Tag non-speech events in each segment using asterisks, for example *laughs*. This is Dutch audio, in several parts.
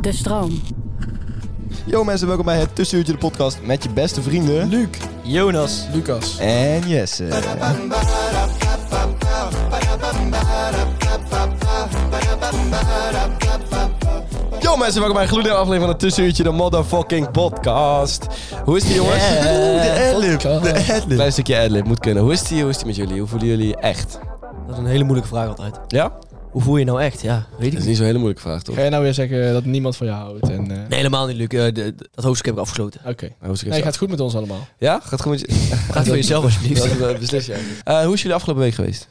De stroom. Yo mensen, welkom bij het Tussenuurtje de podcast met je beste vrienden... Luc, Jonas. Lucas. En Jesse. Yo mensen, welkom bij een gloednieuwe aflevering van het Tussenuurtje, de motherfucking podcast. Hoe is die jongens? Oeh, de adlib. podcast. De adlib. Klein stukje adlib, moet kunnen. Hoe is die? Hoe is die met jullie? Hoe voelen jullie echt? Dat is een hele moeilijke vraag altijd. Ja? Hoe voel je nou echt? Ja, weet Dat ik is niet. niet zo'n hele moeilijke vraag toch? Ga je nou weer zeggen dat niemand van jou houdt? En, eh, Nee, helemaal niet, Luc. Eh, de- de- dat hoofdstuk heb ik *laughs* afgesloten. Oké. Nou, hoe is het? Nee, gaat goed met ons allemaal. Ja? Gaat goed met je? Gaat voor jezelf alsjeblieft. Dat eh, beslis jij. Eh, hoe is jullie afgelopen week geweest?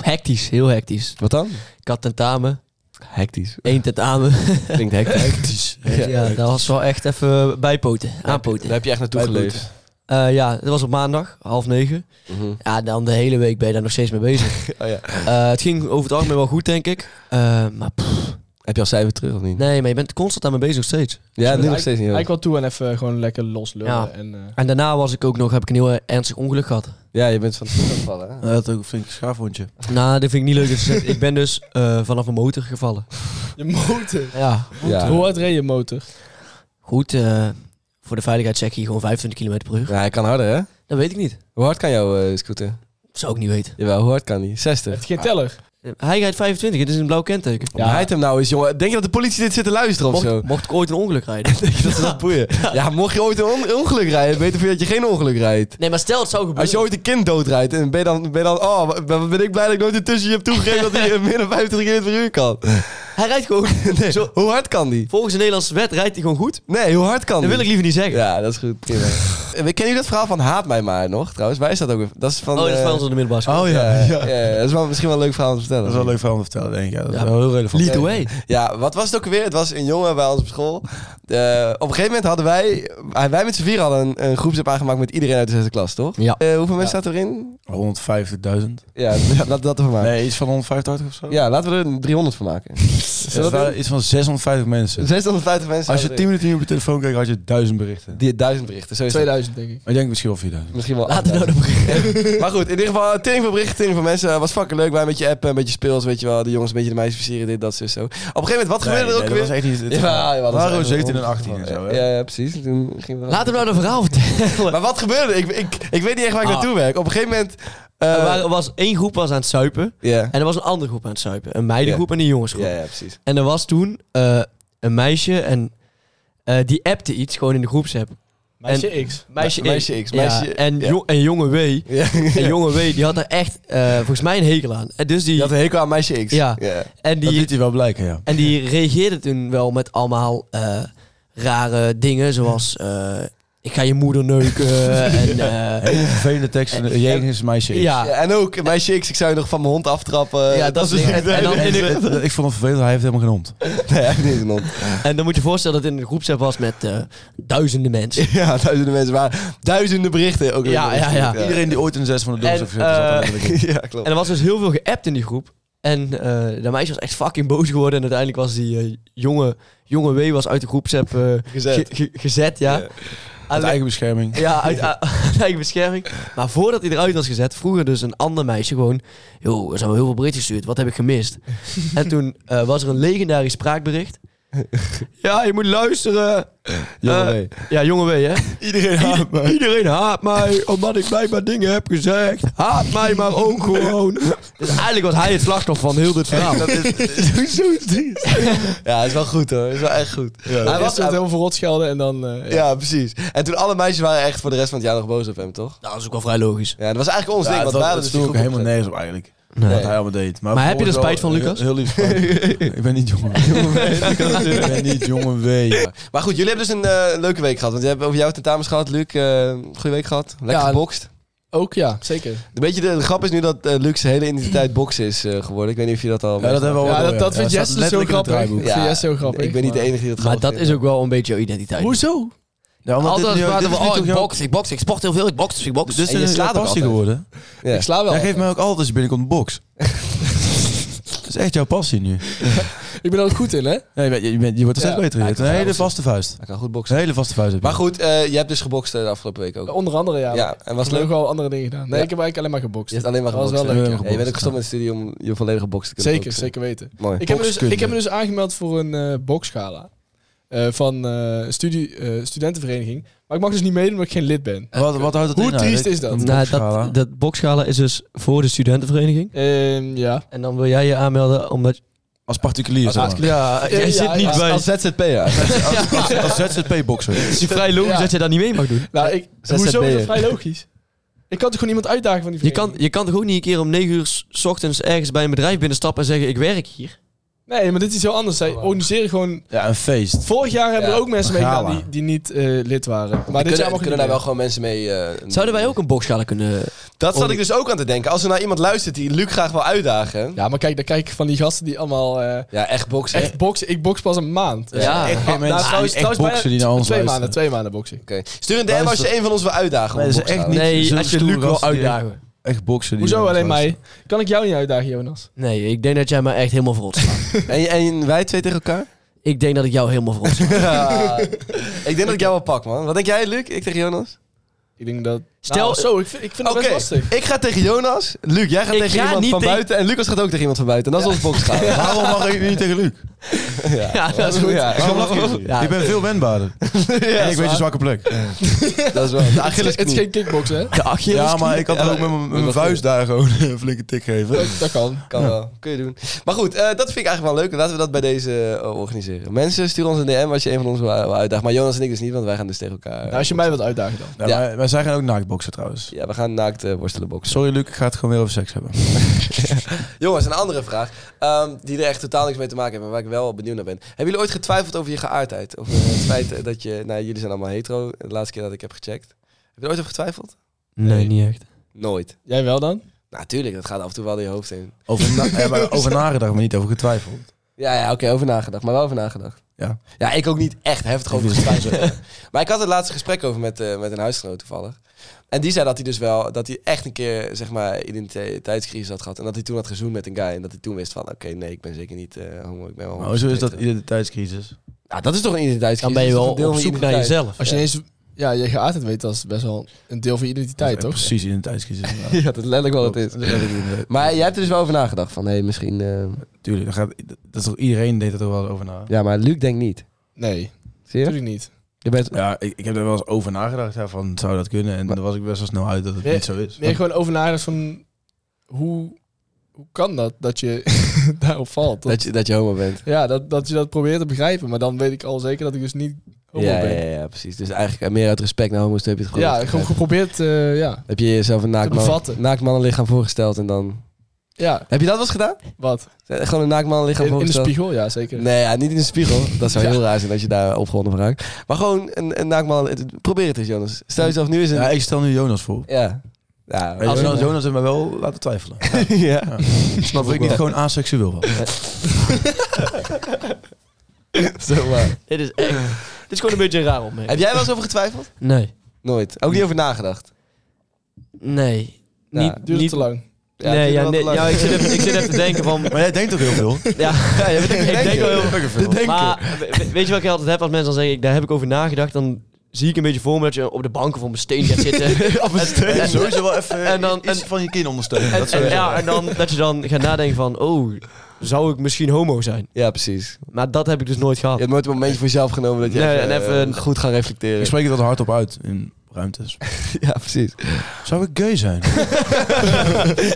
Hectisch, heel hectisch. Wat dan? Ik had tentamen, Hectisch. één tentamen. Klinkt *laughs* hectisch. *laughs* Ja, dat was wel echt even bijpoten, aanpoten. Daar heb je echt naartoe Bijpoten. geleefd. Eh, ja, dat was op maandag, half negen. Ja, dan de hele week ben je daar nog steeds mee *laughs* bezig. Oh ja. Eh, het ging over het algemeen wel goed, denk ik. Eh, maar pff, Heb je al cijfer terug of niet? nee, maar je bent constant aan mee bezig nog steeds. Ja, nu Dus nog steeds niet. Eigenlijk wel toe en even gewoon lekker los lullen. Ja. En, eh, En daarna was ik ook nog, heb ik een heel eh, ernstig ongeluk gehad. Ja, je bent van het gevallen. hè? Hij had ook een flink schaafwondje. Nou, dat vind ik niet leuk. dat je zegt. ik ben dus eh, vanaf een motor gevallen. je motor. Ja, *laughs* Ja. Hoe hard reed je motor? Goed, eh, voor de veiligheid check je gewoon 25 km per uur. ja, hij kan harder, hè? Dat weet ik niet. Hoe hard kan jouw eh, scooter? Zou ik niet weten. Jawel, hoe hard kan die? Heeft 60. geen teller? Hij rijdt 25, het is een blauw kenteken. Ja. Hij hem nou eens, jongen. Denk je dat de politie dit zit te luisteren of zo? *laughs* Mocht, mocht ik ooit een ongeluk *laughs* rijden. Denk je dat ze dat boeien? Ja, mocht je ooit een on- ongeluk rijden, beter voor je dat je geen ongeluk rijdt. Nee, maar stel het zou gebeuren. Als je ooit een kind doodrijdt, en ben je dan, ben je dan oh, wat- wat ben ik blij dat ik nooit intussen je heb toegegeven dat hij eh, meer dan 50 km per uur kan. Hij rijdt gewoon... *laughs* Nee, Zo- hoe hard kan die? volgens de Nederlandse wet rijdt hij gewoon goed. Nee, hoe hard kan Dat die? wil ik liever niet zeggen. Ja, dat is goed. *laughs* Prima. Kennen jullie dat verhaal van Haat mij maar nog, trouwens? Waar is dat ook? weer? Dat is van... Oh, dat is eh, bij ons op de middelbare school. Oh ja, ja. ja, dat is wel, misschien wel een leuk verhaal om te Dat vertellen. is wel leuk verhaal om te vertellen, denk ik. Ja, dat is Ja. wel heel relevant. Lead the way. Ja, wat was het ook weer? Het was een jongen bij ons op school. Eh, op een gegeven moment hadden wij, wij met z'n vier hadden een, een groepsapp aangemaakt met iedereen uit de zesde klas, toch? Ja. Eh, hoeveel mensen zaten erin? 150.000? Ja, ja, *laughs* laten we dat ervan maken. Nee, iets van 185 of zo? Ja, laten we er 300 van maken. Ja, dat waren iets van 650 mensen. 650 mensen. Als je zaten 10 minuten niet op je telefoon kijkt, had je 1000 berichten. erin. Die duizend berichten, sowieso. 2000 denk ik. Ik denk misschien wel 4000. Misschien wel. Laten we nou de *laughs* Maar goed, in ieder geval, eh, tering van berichten, tering van mensen. Eh, was fucking leuk. Wij een beetje appen, een beetje speels, weet je wel. De jongens een beetje de meisjes versieren, dit, dat, zo, zo. Op een gegeven moment, wat gebeurde er ook dat weer? was echt niet... Ja, ja, dat Ja, was waren we echt 17 en wel- 18 en zo, hè? Ja, ja, precies. Toen gingen we... Laten we nou de verhaal vertellen. Maar wat gebeurde? er? Ik, ik, ik weet niet echt waar ik Ah. naartoe werk. Op een gegeven moment... Er eh, waren- was één groep was aan het suipen. Ja. En er was een andere groep aan het suipen. Een meidengroep en een jongensgroep. Ja, ja, precies. En er was toen eh, een meisje en eh, die appte iets gewoon in de groepsapp. Meisje X. Meisje, Me- meisje X, meisje- ja, en, ja. jo- en jonge W. *laughs* Ja. En jonge W, die had er echt eh, volgens mij een hekel aan. En, dus Je die, had een hekel aan meisje X. Ja. en, Dat die, liet hij wel blijken, ja. en die reageerde toen wel met allemaal eh, rare dingen. Zoals eh, ik ga je moeder neuken. en, eh, Hele vervelende *laughs* tekst. en Jegens meisje. X. ja, Ja, En ook, meisje X, ik zou je nog van mijn hond aftrappen. Ja, dat is is- en- en dan in de- Dat- *laughs* Ik vond het vervelend, hij heeft helemaal geen hond. Nee, hij heeft niet een hond. en dan moet je voorstellen dat het in een groepsapp was met eh, duizenden mensen. Ja, duizenden mensen maar Duizenden berichten ook. weer. Ja, ja, ja. Iedereen die ooit in de zes van de doos En, heeft gezeten, zat er eh, eigenlijk in. *laughs* Ja, klopt. En er was dus heel veel geappt in die groep. En eh dat meisje was echt fucking boos geworden. En uiteindelijk was die eh, jonge, jonge W was uit de groepsapp eh, Gezet. ge- ge- gezet ja. Ja. *laughs* Uit Alleen- eigen bescherming. Ja, uit, *laughs* uit eigen bescherming. Maar voordat hij eruit was gezet, vroeger dus een ander meisje gewoon... Yo, er zijn wel heel veel berichten gestuurd. Wat heb ik gemist? en toen eh, was er een legendarisch spraakbericht. ja, je moet luisteren. Jongen, Eh, nee. Ja, jongen weet hè? Iedereen Ieder- Iedereen haat mij, omdat ik blijkbaar dingen heb gezegd. Haat mij maar ook *laughs* gewoon. Dus eigenlijk was hij het slachtoffer van heel dit verhaal. *laughs* Dat is zo'n ding. *laughs* Ja, is wel goed hoor. Is wel echt goed. hij Hij was was, het hij- heel veel rot schelden en dan... eh, ja, precies. En toen alle meisjes waren echt voor de rest van het jaar nog boos op hem, toch? dat is ook wel vrij logisch. Ja, dat was eigenlijk ons Ja, ding. dat Want wij hadden dat dus die sloeg groep ook helemaal opgezet. nergens op eigenlijk. Nee. Wat hij allemaal deed. Maar, Maar heb je er spijt vervolgens van, wel Lucas? Heel, heel lief spijt. ik ben niet jongen. ik ben niet jongen W. Maar goed, jullie hebben dus een eh, leuke week gehad. Want je hebt over jouw tentamens gehad, Luc. eh goede week gehad. Lekker Ja. gebokst. Ook ja, zeker. Een beetje de, de grap is nu dat eh, Luc zijn hele identiteit boksen is eh, geworden. Ik weet niet of je dat al... Ja, dat hebben we Ja, al dat, dat vindt ja, Jess dus zo grappig. draaiboek. Dat vindt Ja, Jess zo grappig. Ik ben niet de maar- enige die dat Maar grappig dat vindt. is ook wel een beetje jouw identiteit. Hoezo? Ja, want Altijd dit, praten we, oh, ik box. box, ik box, ik sport heel veel, ik box, ik box. Dus dit En je is slaat jouw ook passie altijd. geworden. Ja. Ik sla wel. Jij geeft mij ook altijd als je binnenkomt een box. dat is echt jouw passie nu. altijd. Ik ben er ook goed in, hè? Nee, je, bent- je, bent- je wordt er steeds Ja. beter in. Je hebt Een hele vaste vuist. Hij kan goed Een boksen. hele vaste vuist. heb je. Maar goed, eh, je hebt dus gebokst eh, de afgelopen week ook. Onder andere, Oh, ja. Ja, en was Ik het heb leuk. ook al andere dingen gedaan. Nee, Ja. ik heb eigenlijk alleen maar gebokst. Je hebt alleen maar Dat was gebokst. wel hè? leuk. Ja, Ja, je bent ook gestopt met de studie om je volledige boksen te kunnen Zeker, focussen. zeker weten. Mooi. Ik heb, me dus, Bokskunde. ik heb me dus aangemeld voor een eh boksgala. Eh, van eh, studie, eh, studentenvereniging. Maar ik mag dus niet meedoen omdat ik geen lid ben. Wat, wat houdt dat Hoe in? nou? triest is dat? Een Nou, boksgala. dat, dat boksgala is dus voor de studentenvereniging. Ehm, ja. Ah, En dan wil jij je aanmelden omdat... Als particulier, zeg maar. Ja, jij zit niet Als, bij- als ZZP'er. Als ZZP-bokser. Het is vrij logisch Ja. dat je daar niet mee mag doen. Nou, ik, ZZP'er. hoezo is dat vrij logisch? Ik kan toch gewoon iemand uitdagen van die Je kan, vereniging? je kan toch ook niet een keer om 9 uur s ochtends ergens bij een bedrijf binnenstappen en zeggen ik werk hier. Nee, maar dit is heel anders. Zij organiseren gewoon... Ja, een feest. Vorig jaar hebben er ook mensen mee gala. gedaan die, die niet eh, lid waren. Maar dit jaar kunnen, mag kunnen daar wel gewoon mensen mee... eh, Zouden wij ook Oh. een boksgala kunnen... Dat zat ik dus ook aan te denken. Als er nou iemand luistert die Luc graag wil uitdagen... Ja, Ja, maar kijk, dan kijk ik van die gasten die allemaal... eh, echt boksen. echt boksen. Ik boks pas een maand. Ja. Dus Echt geen Ah, mensen nou, trouwens- die echt trouwens bijna boksen die naar twee ons maanden, luisteren. twee maanden boksen. Oké. Stuur een DM als je een van ons wil uitdagen. Nee, om dat boksen is echt aan. niet- Nee, zulke als je stoere Luc wil gasten die- uitdagen. Echt boksen die naar Hoezo ons alleen luisteren. mij? Kan ik jou niet uitdagen, Jonas? Nee, ik denk dat jij me echt helemaal verrot slaat. En, en wij twee tegen elkaar? ik denk dat ik jou helemaal verrot *laughs* sla. *laughs* Ja. ik denk dat ik jou wel pak, man. Wat denk jij, Luc? Ik tegen Jonas? Ik denk dat... Stel- Nou, zo, ik vind, ik vind het Oké, best lastig. ik ga tegen Jonas. Luc, jij gaat Ik tegen ga iemand niet van tegen- buiten. En Lucas gaat ook tegen iemand van buiten. En dat is ons *laughs* boksgaan. Waarom mag ik niet tegen Luc? Ja, dat is goed. Ja, Waarom mag ik *laughs* niet? Ja. Ik ben veel wendbaarder. en ik weet je zwakke plek. dat is wel. De Het is, het is Achillesknie. geen kickboksen, hè? De Achilles. Ja, maar ik had Ja, ook met mijn- met dat mijn vuist daar gewoon *laughs* een flinke tik geven. Dat, dat kan. Kan wel. Kun je doen. Maar goed, eh, dat vind ik eigenlijk wel leuk. Laten we dat bij deze eh, organiseren. Mensen, stuur ons een DM als je een van ons wil wil uitdagen. Maar Jonas en ik dus niet, want wij gaan dus tegen elkaar. Nou, als je mij wilt uitdagen dan. Ja, Ja. maar Wij zijn gaan ook naaktboksen trouwens. Ja, we gaan naakt eh, worstelen boksen. Sorry Luc, ik ga het gewoon weer over seks hebben. Jongens, een andere vraag. ehm, die er echt totaal niks mee te maken heeft, maar waar ik wel benieuwd naar ben. Hebben jullie ooit getwijfeld over je geaardheid? Of eh, het feit eh, dat je... Nou, jullie zijn allemaal hetero, de laatste keer dat ik heb gecheckt. Heb je er ooit over getwijfeld? Nee, niet echt. Nooit. Jij wel dan? Natuurlijk, dat gaat af en toe wel door je hoofd in. Over, na *laughs* ja, maar over nagedacht, maar niet over getwijfeld. Oh, Ja, ja oké, over nagedacht. Maar wel over nagedacht. Ja. Ja, ik ook niet echt heftig over Even- getwijfeld. *laughs* maar ik had het laatste gesprek over met, eh, met een huisgenoot toevallig. En die zei dat hij dus wel, dat hij echt een keer, zeg maar, identiteitscrisis had gehad. En dat hij toen had gezoend met een guy. En dat hij toen wist van, oké, nee, ik ben zeker niet eh, homo, ik ben wel Maar hoezo is dat hetero. identiteitscrisis? Ja, dat is toch een identiteitscrisis? Dan ben je Oh, Dat is wel toch een deel op van je zoek naar identiteit? jezelf. Als je ineens ja, je geaardheid weet, dat is best wel een deel van je Dat is identiteit, echt toch? Precies, identiteitscrisis. inderdaad. *laughs* Ja, dat is letterlijk wel wat het is. Klopt. Dat weet ik niet. Maar jij hebt er dus wel over nagedacht van, hé, hey, misschien... eh, Tuurlijk, dat, gaat, dat is toch iedereen deed het er wel over na. ja, maar Luc denkt niet. Nee, Zie je? natuurlijk niet. je bent... Ja, ik, ik heb er wel eens over nagedacht, ja, van zou dat kunnen? En Maar- daar was ik best wel snel uit dat het Nee, niet zo is. Nee, gewoon over nagedacht van hoe, hoe kan dat dat je *laughs* daarop valt? Dat- Dat je, dat je homo bent. ja, dat, dat je dat probeert te begrijpen, maar dan weet ik al zeker dat ik dus niet homo Ja, ja, ben. ja, ja, precies. Dus eigenlijk eh, meer uit respect naar homo's heb je het gewoon... Ja, gewoon geprobeerd, eh, ja. Heb je jezelf een naakt Te man- bevatten. naakt mannenlichaam voorgesteld en dan... Ja, Heb je dat wel eens gedaan? wat? Eh, Gewoon een naakt mannenlichaam In, in de voorgesteld? spiegel, ja, zeker. Nee, ja, niet in de spiegel. Dat zou Ja. heel raar zijn als je daar opgewonden van raakt. Maar gewoon een, een naakt man... het- Probeer het eens, Jonas. Stel jezelf nu eens een... Ja, ik stel nu Jonas voor. Ja. Ja. Als Als- Jonas, Jonas heeft mij wel laten twijfelen. *laughs* ja. Snap ik niet gewoon aseksueel was. Zomaar. Dit is echt... *laughs* Dit is gewoon een beetje een raar Heb opmerking. jij wel eens over getwijfeld? Nee. Nooit. Ook niet over nagedacht. Nee. Ja, Niet, Duurde niet, te lang. nee, ja, nee, ja, ik, zit even, ik zit even te denken *laughs* *laughs* van... Maar jij denkt toch heel veel? Ja, Ja, je bent echt Ik denk wel- Fucking veel. maar we- we- weet je wat ik altijd heb als mensen dan zeggen... ik- Daar heb ik over nagedacht, dan zie ik een beetje voor me dat je op de bank of op een steen gaat *laughs* zitten. op een steen? En sowieso wel even En dan- iets en- van je kin ondersteunen. En, dat en, sowieso. ja, en dan, dat je dan gaat nadenken van... Oh, zou ik misschien homo zijn? Ja, precies. Maar dat heb ik dus nooit Je gehad. hebt nooit een momentje voor jezelf genomen dat je Nee, even, en even- eh, goed gaat reflecteren. Ik spreek dat hardop uit in ruimtes. *laughs* Ja, precies. Zou ik gay zijn?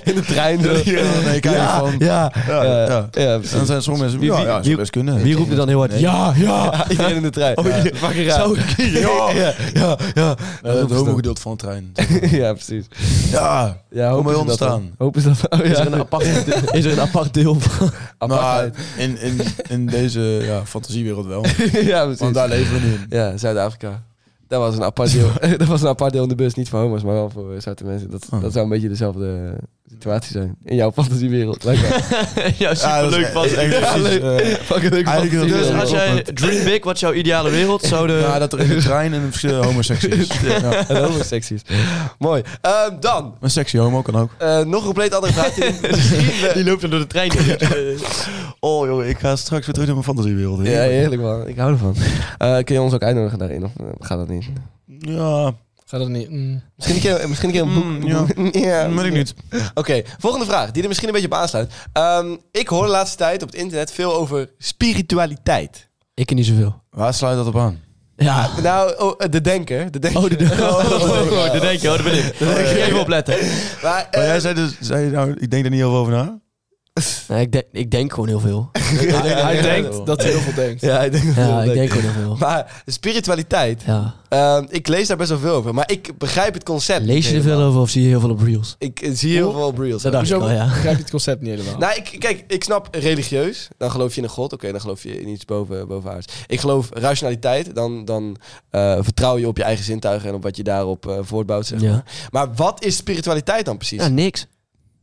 In de *laughs* trein. zo. Ja, nee, kijk ja, van- Ja, Ja, eh, ja. ja, En dan precies. zijn sommige mensen, Wie- ja, wie- ja, zou wie- best kunnen. Wie roept er dan heel hard... *laughs* Nee. Ja, ja! Iedereen in de trein. Oh, ja. je- fucking raar. Zou ik... Ja, ja, ja. Dat roepen het ze dan. homogedeelte van de trein. *laughs* ja, precies. Ja, Ja, Kom maar hopen ze dat ontstaan. dan. Hopen ze dat oh, ja. Is er, een apart, *laughs* is er een apart deel van? Apartheid. maar in, in, in deze ja, fantasiewereld wel. *laughs* ja, precies. Want daar leven we nu in. Ja, Zuid-Afrika. *laughs* Dat was, een apart deel, dat was een apart deel in de bus. Niet voor homo's, maar wel voor eh, zwarte mensen. Dat, Oh. dat zou een beetje dezelfde, eh, situatie zijn. In jouw fantasiewereld. *laughs* Lijkt *laughs* ja, superleuk dat vast. is e- echt Ja, precies, leuk. eh, Fucking leuk. Eigenlijk fantasie. heel Dus leuk. als jij dream big, wat is jouw ideale wereld? Zou de... eh, ja, dat er in *laughs* de trein een verschillende homoseks is. Ja. En homo sexy is. Mooi. Ehm, dan, Een sexy homo kan ook. eh, nog een compleet andere vraag. die- *laughs* misschien, eh, *laughs* Die loopt er door de *laughs* trein. Oh joh, ik ga straks weer terug naar mijn fantasiewereld. ja, heerlijk man. Ik hou ervan. Eh, kun je ons ook uitnodigen daarin? Of eh, gaat dat niet? Ja, Ga dat niet. mm. *laughs* Misschien een keer, eh, misschien een, keer een Mm, boek. *laughs* ja. weet ik niet. Oké, volgende vraag, die er misschien een beetje op aansluit. Ehm, ik hoor de laatste tijd op het internet veel over spiritualiteit. Ik ken niet zoveel. Waar sluit dat op aan? Ja. Nou, oh, eh, de denker. De denker. *laughs* Oh, *laughs* de denk oh, de Oh, denk je. Oh, daar ben ik. Even opletten. Maar, eh, Maar jij zei dus, zei je nou, ik denk er niet heel veel over na. Nee, ik, denk- ik denk gewoon heel veel. *laughs* Hij ja, denkt dat hij heel veel denkt. Ja, ik denk dat Ja, wel ik denk gewoon heel veel. Maar spiritualiteit, Ja. ehm, ik lees daar best wel veel over. Maar ik begrijp het concept. Lees je er niet veel helemaal. over of zie je heel veel op reels? Ik eh, zie heel veel op reels. Dat dacht ik Hoezo al, ja. begrijp je het concept niet helemaal? Nou, ik, kijk, ik snap religieus. Dan geloof je in een god. Oké, dan geloof je in iets boven, bovenaards. Ik geloof rationaliteit. Dan, dan eh, vertrouw je op je eigen zintuigen en op wat je daarop eh, voortbouwt. Zeg Ja. maar. maar wat is spiritualiteit dan precies? Ja, Ja, niks.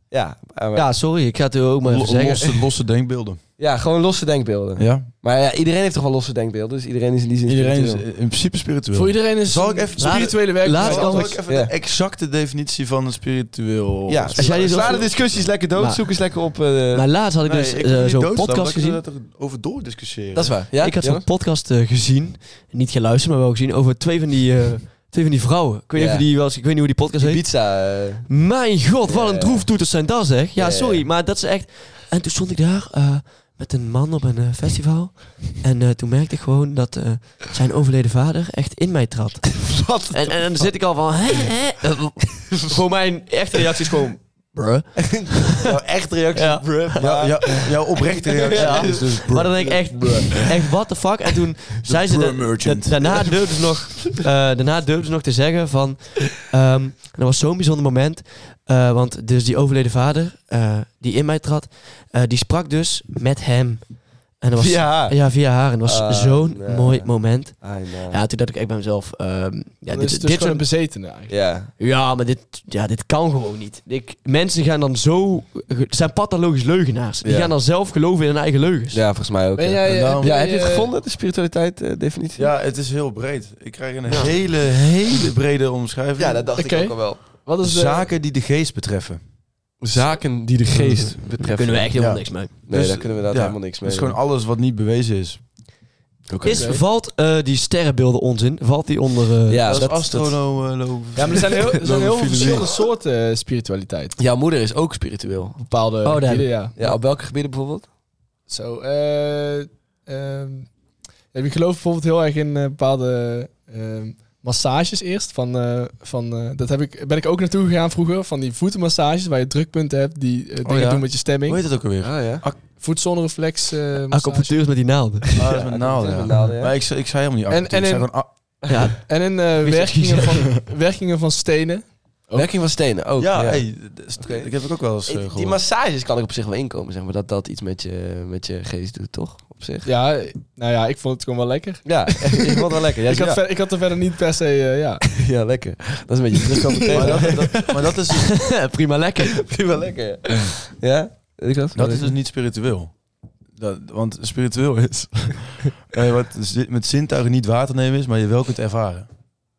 eh, Ja, sorry. Ik ga het u ook maar even Lo- zeggen. Losse, losse denkbeelden. ja, gewoon losse denkbeelden. Ja. Maar ja, iedereen heeft toch wel losse denkbeelden. Dus iedereen is in die zin. Iedereen is spiritueel. in principe spiritueel. Voor iedereen is Zal ik een even- spirituele werk. laat- Zal anders. ik even Ja. de exacte definitie van spiritueel... Ja, Als jij die zo- sla de discussies lekker dood. Maar- zoek eens lekker op. eh, Maar laatst had ik dus Nee, ik eh, wil niet zo'n doodslaan, podcast maar gezien. Ik wil er over door discussiëren. dat is waar. Ja? ik had zo'n Jonas? podcast eh, gezien, niet geluisterd, maar wel gezien, over twee van die, eh, twee van die vrouwen. Ik weet, niet Ja. of die wel eens, ik weet niet hoe die podcast heet. Pizza. *laughs* eh, Mijn god, wat Ja. een droeftoeters zijn dat zeg. Ja, Ja. sorry, maar dat is echt... En toen stond ik daar eh, met een man op een eh, festival. En eh, toen merkte ik gewoon dat eh, zijn overleden vader echt in mij trad. wat? En, en, en dan zit ik al van... Hè, hè? Eh, gewoon mijn echte reactie is gewoon... Bruh. Nou, echt reactie. Ja. bruh, maar- Ja, ja, jouw oprechte reactie Ja. is dus... Maar dan denk ik echt, echt what the fuck. En toen zei ze... Bruh da- merchant. da- daarna durfde ze nog, eh, daarna durfde ze nog te zeggen van... ehm, en dat was zo'n bijzonder moment. eh, want dus die overleden vader, eh, die in mij trad... eh, die sprak dus met hem. En dat was, Ja. Ja, via haar. En dat was Ah, zo'n nee. mooi moment. I know. Ja, toen dacht ik echt bij mezelf... ehm, ja, Dan dit, is het dit dus gewoon soort- een bezetene eigenlijk. Ja. ja, maar dit, ja, dit kan gewoon niet. Ik, mensen gaan dan zo... Het zijn pathologisch leugenaars. Die Ja. gaan dan zelf geloven in hun eigen leugens. ja, volgens mij ook. Ben ja. jij, Nou, En daarom- Ja, heb je het eh, gevonden, de spiritualiteit eh, definitie? Ja, het is heel breed. Ik krijg een Ja. hele, hele brede omschrijving. Ja, dat dacht Oké. ik ook al wel. Wat is de... Zaken die de geest betreffen. Zaken die de geest betreffen. Daar kunnen we echt helemaal Ja. niks mee. Nee, Dus, daar kunnen we daar ja, helemaal niks mee. Dat is gewoon alles wat niet bewezen is. Is, valt eh, die sterrenbeelden onzin? Valt die onder... eh, ja, dat, dat, is eh, astroloog. Ja, maar er zijn heel, er zijn heel veel Filosofie. verschillende soorten eh, spiritualiteit. Jouw moeder is ook spiritueel. Bepaalde daar heb gebieden, ik- ja. Ja, op welke gebieden bijvoorbeeld? Zo, eh... ehm, ja, ik geloof bijvoorbeeld heel erg in eh, bepaalde ehm, massages eerst. Van, eh, van, eh, dat heb ik, ben ik ook naartoe gegaan vroeger. Van die voetenmassages waar je drukpunten hebt. Die eh, dingen ja. doen met je Hoe stemming. heet dat ook alweer? Ah ja. Voetzonreflex eh massage. Acupunctuur is met die naalden. Ah, dat is met naalden. dat is ja. met naalden, ja. Maar ik, zei- ik zei helemaal niet En- en, en en, Ik zei in- gewoon... ah, ja. En in eh, Wist je- werkingen, van, werkingen van stenen. Ook. Werking van stenen ook. ja, hey, dat is- Oké. ik heb het ook wel eens eh, Die gehoord. massages kan ik op zich wel inkomen, zeg maar. Dat dat iets met je, met je geest doet, toch? Op zich. Ja, nou ja, ik vond het gewoon wel lekker. *laughs* Ja, ik vond wel lekker. Jij ik, had zegt, ver- ik had er verder niet per se, eh, *laughs* ja. ja. ja, lekker. Dat is een *laughs* beetje druk op Maar meteen. dat, dat- maar dat is, Prima lekker. *laughs* Prima lekker. ja. Ja? Weet ik dat? dat is dus niet spiritueel. Dat, want spiritueel is *laughs* eh, wat zi- met zintuigen niet waar te nemen is, maar je wel kunt ervaren.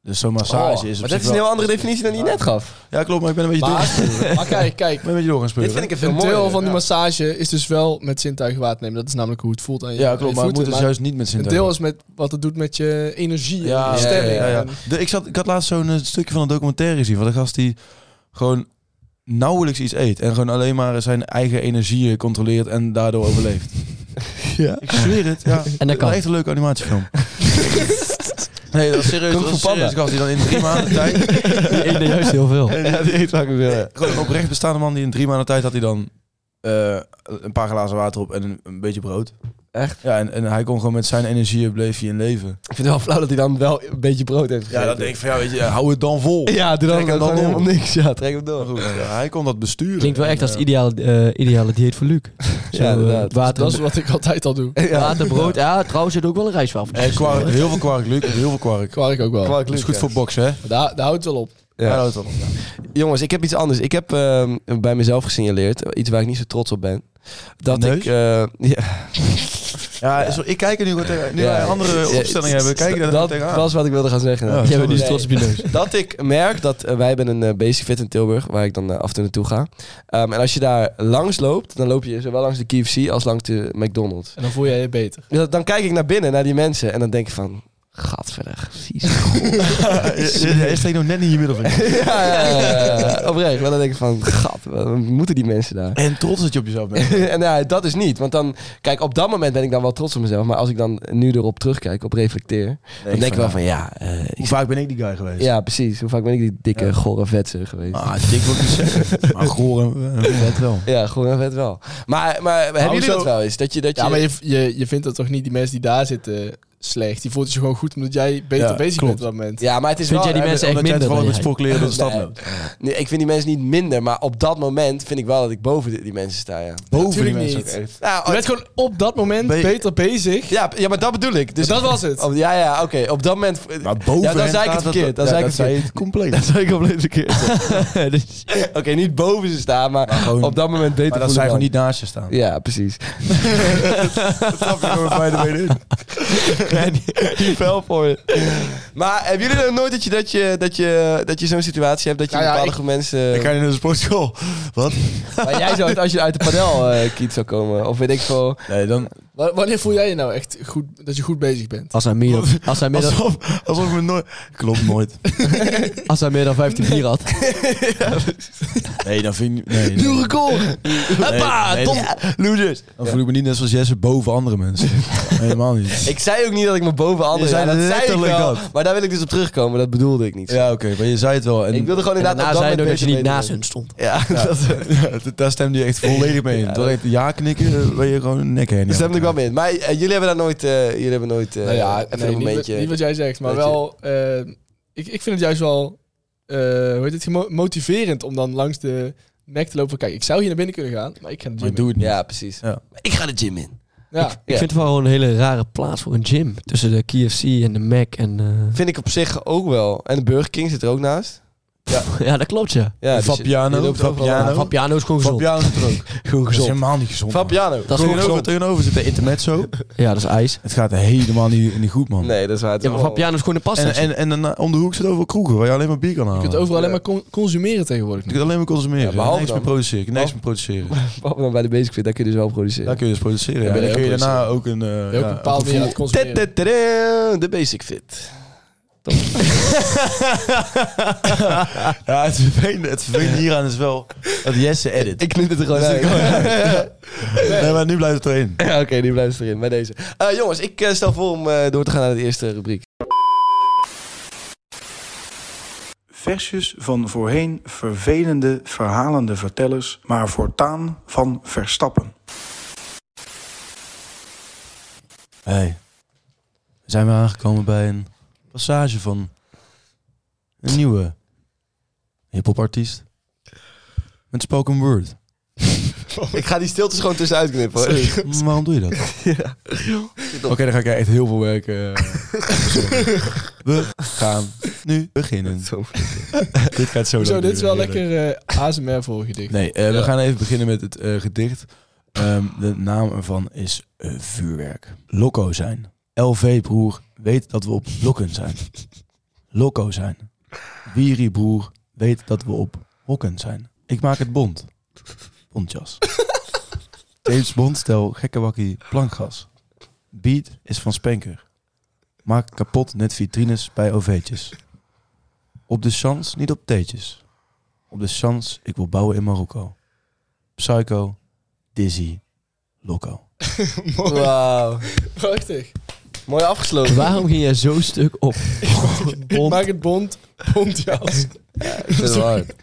Dus zo'n massage Oh, is op Maar zich dat is een wel- heel andere definitie dan die je net gaf. Ja, klopt, maar ik ben een beetje door. Maar, maar kijk, kijk. *laughs* Ik ben een beetje door gaan speuren. Dit vind ik een veel Een mooier. deel van die Ja. massage is dus wel met zintuigen waar te nemen. Dat is namelijk hoe het voelt aan je Ja, klopt, maar je het moet voeten. dus juist niet met een zintuigen. deel is met wat het doet met je energie en Ja, je ja, stemming. ja, ja. En- De- ik, zat, ik had laatst zo'n eh, stukje van een documentaire gezien van een gast die gewoon nauwelijks iets eet en gewoon alleen maar zijn eigen energieën controleert en daardoor overleeft. *laughs* Ja. Ik zweer het. Ja. En dat kan. Echt een leuke *laughs* animatiefilm. nee, dat is serieus. Kung Dat is Fu Panda. serieus. gast die dan in drie *laughs* *laughs* maanden tijd Die ene juist heel veel. Ja, die eet vaak wel. ja. gewoon een oprecht bestaande man die in drie maanden tijd had hij dan eh, een paar glazen water op en een, een beetje brood. Echt? Ja, en, en hij kon gewoon met zijn energieën bleef hij in leven. Ik vind het wel flauw dat hij dan wel een beetje brood heeft gegeten. ik van ja, weet je, eh, hou het dan vol. Ja, doe Trek hem dan, dan dan door. helemaal niks. Ja, trek hem door. Maar goed, ja, hij kon dat besturen. Klinkt wel echt als En, het ideale, eh, ideale dieet voor Luc. Zo, eh, inderdaad. water, Dat is wat ik altijd al doe. water, brood. Ja, trouwens zit ook wel een rijstwafel. eh, eh, kwark, heel veel kwark, Luc. Heel veel kwark. Kwark ook wel. Kwark Dat is Lucas. goed voor boksen, hè? Maar Daar, daar houdt het wel op. Hij Ja. houdt het op. Jongens, ik heb iets anders. Ik heb ehm, bij mezelf gesignaleerd, iets waar ik niet zo trots op ben. Dat Neus? ik... eh, *laughs* ja, Ja, zo, ik kijk er nu gewoon tegen. Nu Ja. wij een andere Ja, opstelling hebben, kijk ik er Dat gewoon tegenaan. was wat ik wilde gaan zeggen. Ja, Nou, sorry. Jij bent nu zo trots op je neus. *laughs* dat ik merk dat eh, wij hebben een eh, basic fit in Tilburg, waar ik dan eh, af en toe naartoe ga. Ehm, en als je daar langs loopt, dan loop je zowel langs de KFC als langs de McDonald's. En dan voel jij je beter. Ja, Dan kijk ik naar binnen, naar die mensen, en dan denk ik van, gadverdig. Hij steekt nog net niet in je middelvinger. *laughs* ja, ja, ja, ja, ja. oprecht. Maar dan denk ik van, gat, wat moeten die mensen daar? *laughs* En trots dat je op jezelf bent. en ja, dat is niet. Want dan, kijk, op dat moment ben ik dan wel trots op mezelf. Maar als ik dan nu erop terugkijk, op reflecteer, dan denk *laughs* ik wel van, ja, eh, ik- Hoe vaak ben ik die guy geweest? ja, precies. Hoe vaak ben ik die dikke, Ja. gore vetser geweest? Ah, dik wil ik niet *laughs* zeggen. Maar goor en *laughs* en vet wel. Ja, gewoon en vet wel. Maar, maar hebben jullie hoezo? dat wel eens? Dat je, dat je... Ja, maar je, je, je vindt dat toch niet die mensen die daar zitten slecht. Die voelt het je gewoon goed omdat jij beter Ja, bezig klopt. bent op dat moment. Ja, maar het is Vind wel... jij die mensen echt Omdat jij minder dan toevallig met jij? sportkleren door de *laughs* stad Nee. loopt. Nee, ik vind die mensen niet minder, maar op dat moment vind ik wel dat ik boven die, die mensen sta, ja. Boven die Natuurlijk mensen. ook niet. echt. Nou, Je bent gewoon op dat moment Ben je- beter bezig. ja, ja, maar dat bedoel ik. Dus Dus dat was het. Oh. Op- ja, ja, oké. Op dat moment... Maar boven Ja, dan hen zei ik het staat dat- verkeerd. Dan ja, zei ik dat het verkeerd. het compleet. zei ik compleet verkeerd. Dus- Oké, niet boven ze staan, maar, gewoon- op dat moment beter Maar dat voelen dan. zij gewoon niet naast je staan. Ja, precies. *laughs* Dat snap je gewoon bij de benen in. Die fel voor je. Maar hebben jullie dan nooit dat je, dat je, dat je, dat je zo'n situatie hebt dat je Nou ja, bepaalde ik- groep mensen... Dan ga je naar de sportschool. Wat? Maar jij zou het als je uit de padel eh kiet zou komen. Of weet ik veel. Nee, dan... Wa- Wanneer voel jij je nou echt goed, dat je goed bezig bent? Als hij meer dan, als hij meer dan, Alsof, alsof ik me nooit... Klopt nooit. als hij meer dan 15 bier had. Nee, dan vind ik... Nee, nee. Nieuwe goal! Hoppa! nee, dom- Losers. Dan voel ik me niet net zoals Jesse boven andere mensen. Helemaal niet. Ik zei ook niet dat ik me boven anderen... Je zei Ja, dat zei ik letterlijk wel. dat. Maar daar wil ik dus op terugkomen. Dat bedoelde ik niet. Ja, oké. maar je zei het wel. En Ik wilde gewoon En inderdaad... daarna op dat zei hij ook dat moment je niet beter naast weten. hun stond. Ja, *laughs* dat Ja, daar stemde je echt volledig mee in. Ja, Door echt ja knikken, eh, ben je gewoon een nek heen. daar stemde ik wel mee in. Maar eh, jullie hebben daar nooit... eh, jullie hebben nooit... eh, nou ja, even nee, een niet, wat- momentje... niet wat jij zegt, maar dat je- wel... eh, ik, ik vind het juist wel eh, hoe heet het, gemo- motiverend om dan langs de nek te lopen. Kijk, ik zou hier naar binnen kunnen gaan, maar ik ga naar de Maar gym. doe het niet. Ja, precies. Ja. Ik ga de gym in. Ja. Ik vind het wel een hele rare plaats voor een gym. Tussen de KFC en de Mac en... eh, *laughs* Vind ik op zich ook wel. En de Burger King zit er ook naast. ja, dat klopt, ja. Ja, En dus je- Fabiano, je loopt overal Fabiano. aan. Ja, Fabiano is gewoon gezond. Fabiano zit er ook. Gewoon Dat is gezond. helemaal niet gezond. man. Fabiano. Dat is gewoon tegenover, gezond. tegenover zit de intermezzo. Ja, dat is ijs. Het gaat helemaal niet, niet goed, man. Nee, dat is waar. het Ja, maar wel- Fabiano is gewoon een pasta. En, en, en dan, eh, om de hoek zit over kroegen waar je alleen maar bier kan Je halen. kunt overal alleen Ja. maar con- consumeren tegenwoordig. Je kunt alleen maar consumeren. Ja, behalve niks meer dan. produceren. Niks meer produceren. Behalve dan bij de basic fit, daar kun je dus wel Daar produceren. kun je dus produceren. Ja. Ja, En dan ja, kun je produceren. daarna ook een... eh, Je hebt ja, ook een bepaald gevoel- meer aan het consumeren. Tadadada, De basic fit. *laughs* Ja, het vervelende, het vervelende hieraan is wel dat Jesse edit. Ik knip het er gewoon Dat is uit. Ja, *laughs* Nee, maar nu blijft het *laughs* erin. Oké, die blijft erin bij deze. Eh, jongens, ik eh, stel voor om eh, door te gaan naar de eerste rubriek. Versjes van voorheen vervelende, verhalende vertellers, maar voortaan van Verstappen. Hey. Zijn we aangekomen bij een passage van een nieuwe hiphopartiest met spoken word. Ik ga die stiltes gewoon tussenuit knippen. hoor. *laughs* Maar waarom doe je dat? *laughs* Oké, dan ga ik echt heel veel werk. *laughs* eh, verzorgen. we gaan nu beginnen. Zo. dit gaat zo. Zo, lang dit is wel duren, lekker heerlijk. eh, ASMR voor gedicht. Nee, eh, Ja. we gaan even beginnen met het eh, gedicht. Ehm, de naam ervan is eh, Vuurwerk. Loco zijn. LV broer, weet dat we op blokken zijn. Loco zijn. Wiri broer, weet dat we op hokken zijn. Ik maak het bond. Bondjas. James Bond stel gekke wakkie plankgas. Beat is van Spenker. Maak kapot net vitrines bij OV'tjes. Op de chance, niet op theetjes. Op de chance, ik wil bouwen in Marokko. Psycho, Dizzy, Loco. Wauw. *laughs* Prachtig. Mooi afgesloten. *laughs* Waarom ging jij zo stuk op? Ik maak het bond, bondjas. Ik vind het wel hard.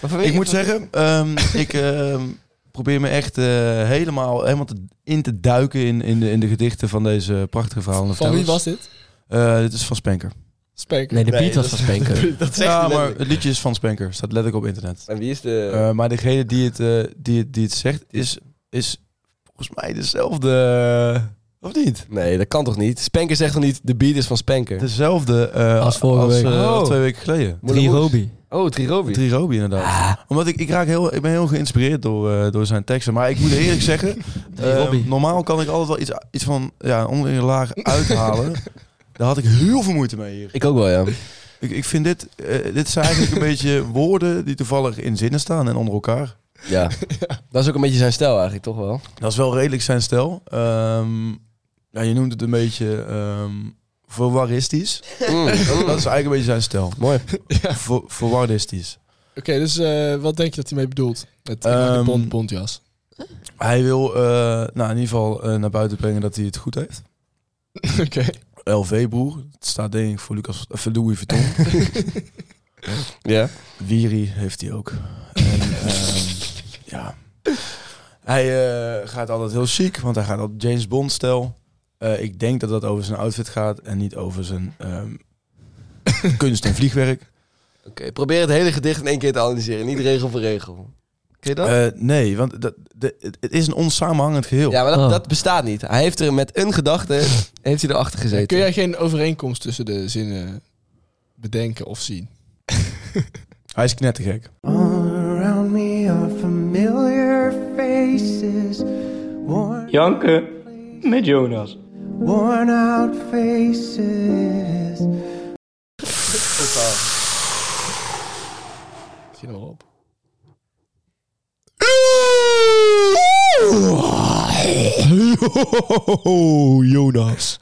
Maar vanwege- Ik moet zeggen, ehm, *laughs* ik ehm, probeer me echt eh, helemaal, helemaal te- in te duiken in, in, de, in de gedichten van deze prachtige verhalen. Van wie was dit? Eh, dit is van Spenker. Spenker. Nee, de Nee, beat was dat- *laughs* van Spenker. Dat zegt hij Ja, maar letterlijk. het liedje is van Spenker. Staat letterlijk op internet. En wie is de... Eh, maar degene die het, eh, die, het, die het zegt is, is volgens mij dezelfde Of niet? Nee, dat kan toch niet? Spanker zegt toch niet, de beat is van Spanker? Dezelfde eh, Als vorige week. eh, Oh. twee weken geleden. Moeder Moes. Robi. Oh, Trirobi. Trirobi inderdaad. Omdat ik, ik, raak heel, ik ben heel geïnspireerd door, eh, door zijn teksten. Maar ik moet eerlijk zeggen, eh, Robbie. normaal kan ik altijd wel iets, iets van ja, onder je laag uithalen. Daar had ik heel veel moeite mee hier. Ik ook wel, ja. Ik, ik vind dit, eh, dit zijn eigenlijk een beetje woorden die toevallig in zinnen staan en onder elkaar. ja. Dat is ook een beetje zijn stijl eigenlijk, toch wel? Dat is wel redelijk zijn stijl. Ehm, ja, je noemt het een beetje ehm verwarristisch. Oh. *laughs* Dat is eigenlijk een beetje zijn stijl. Mm, Mooi. Ver- verwarristisch. dus eh, wat denk je dat hij mee bedoelt? Met Ehm, um, bond, bondjas. Hij wil eh, nou, in ieder geval eh, naar buiten brengen dat hij het goed heeft. *laughs* Oké. LV-broer. Het staat denk ik voor, Lucas, eh, voor Louis Vuitton. *laughs* Ja. Wiri heeft hij ook. En, ehm, ja. Hij eh, gaat altijd heel chic, want hij gaat op James Bond-stijl. Eh, ik denk dat dat over zijn outfit gaat en niet over zijn ehm, kunst en vliegwerk. Oké, probeer het hele gedicht in één keer te analyseren. Niet regel voor regel. Kun je dat? Eh, nee, want dat, de, het- het is een onsamenhangend geheel. ja, maar dat, Oh. dat bestaat niet. Hij heeft er met een gedachte, heeft hij erachter gezeten. Kun jij geen overeenkomst tussen de zinnen bedenken of zien? Hij is knettergek. All around me are familiar faces, worn, Janken met Jonas. worn out faces. Zie je nou wel op. Jonas.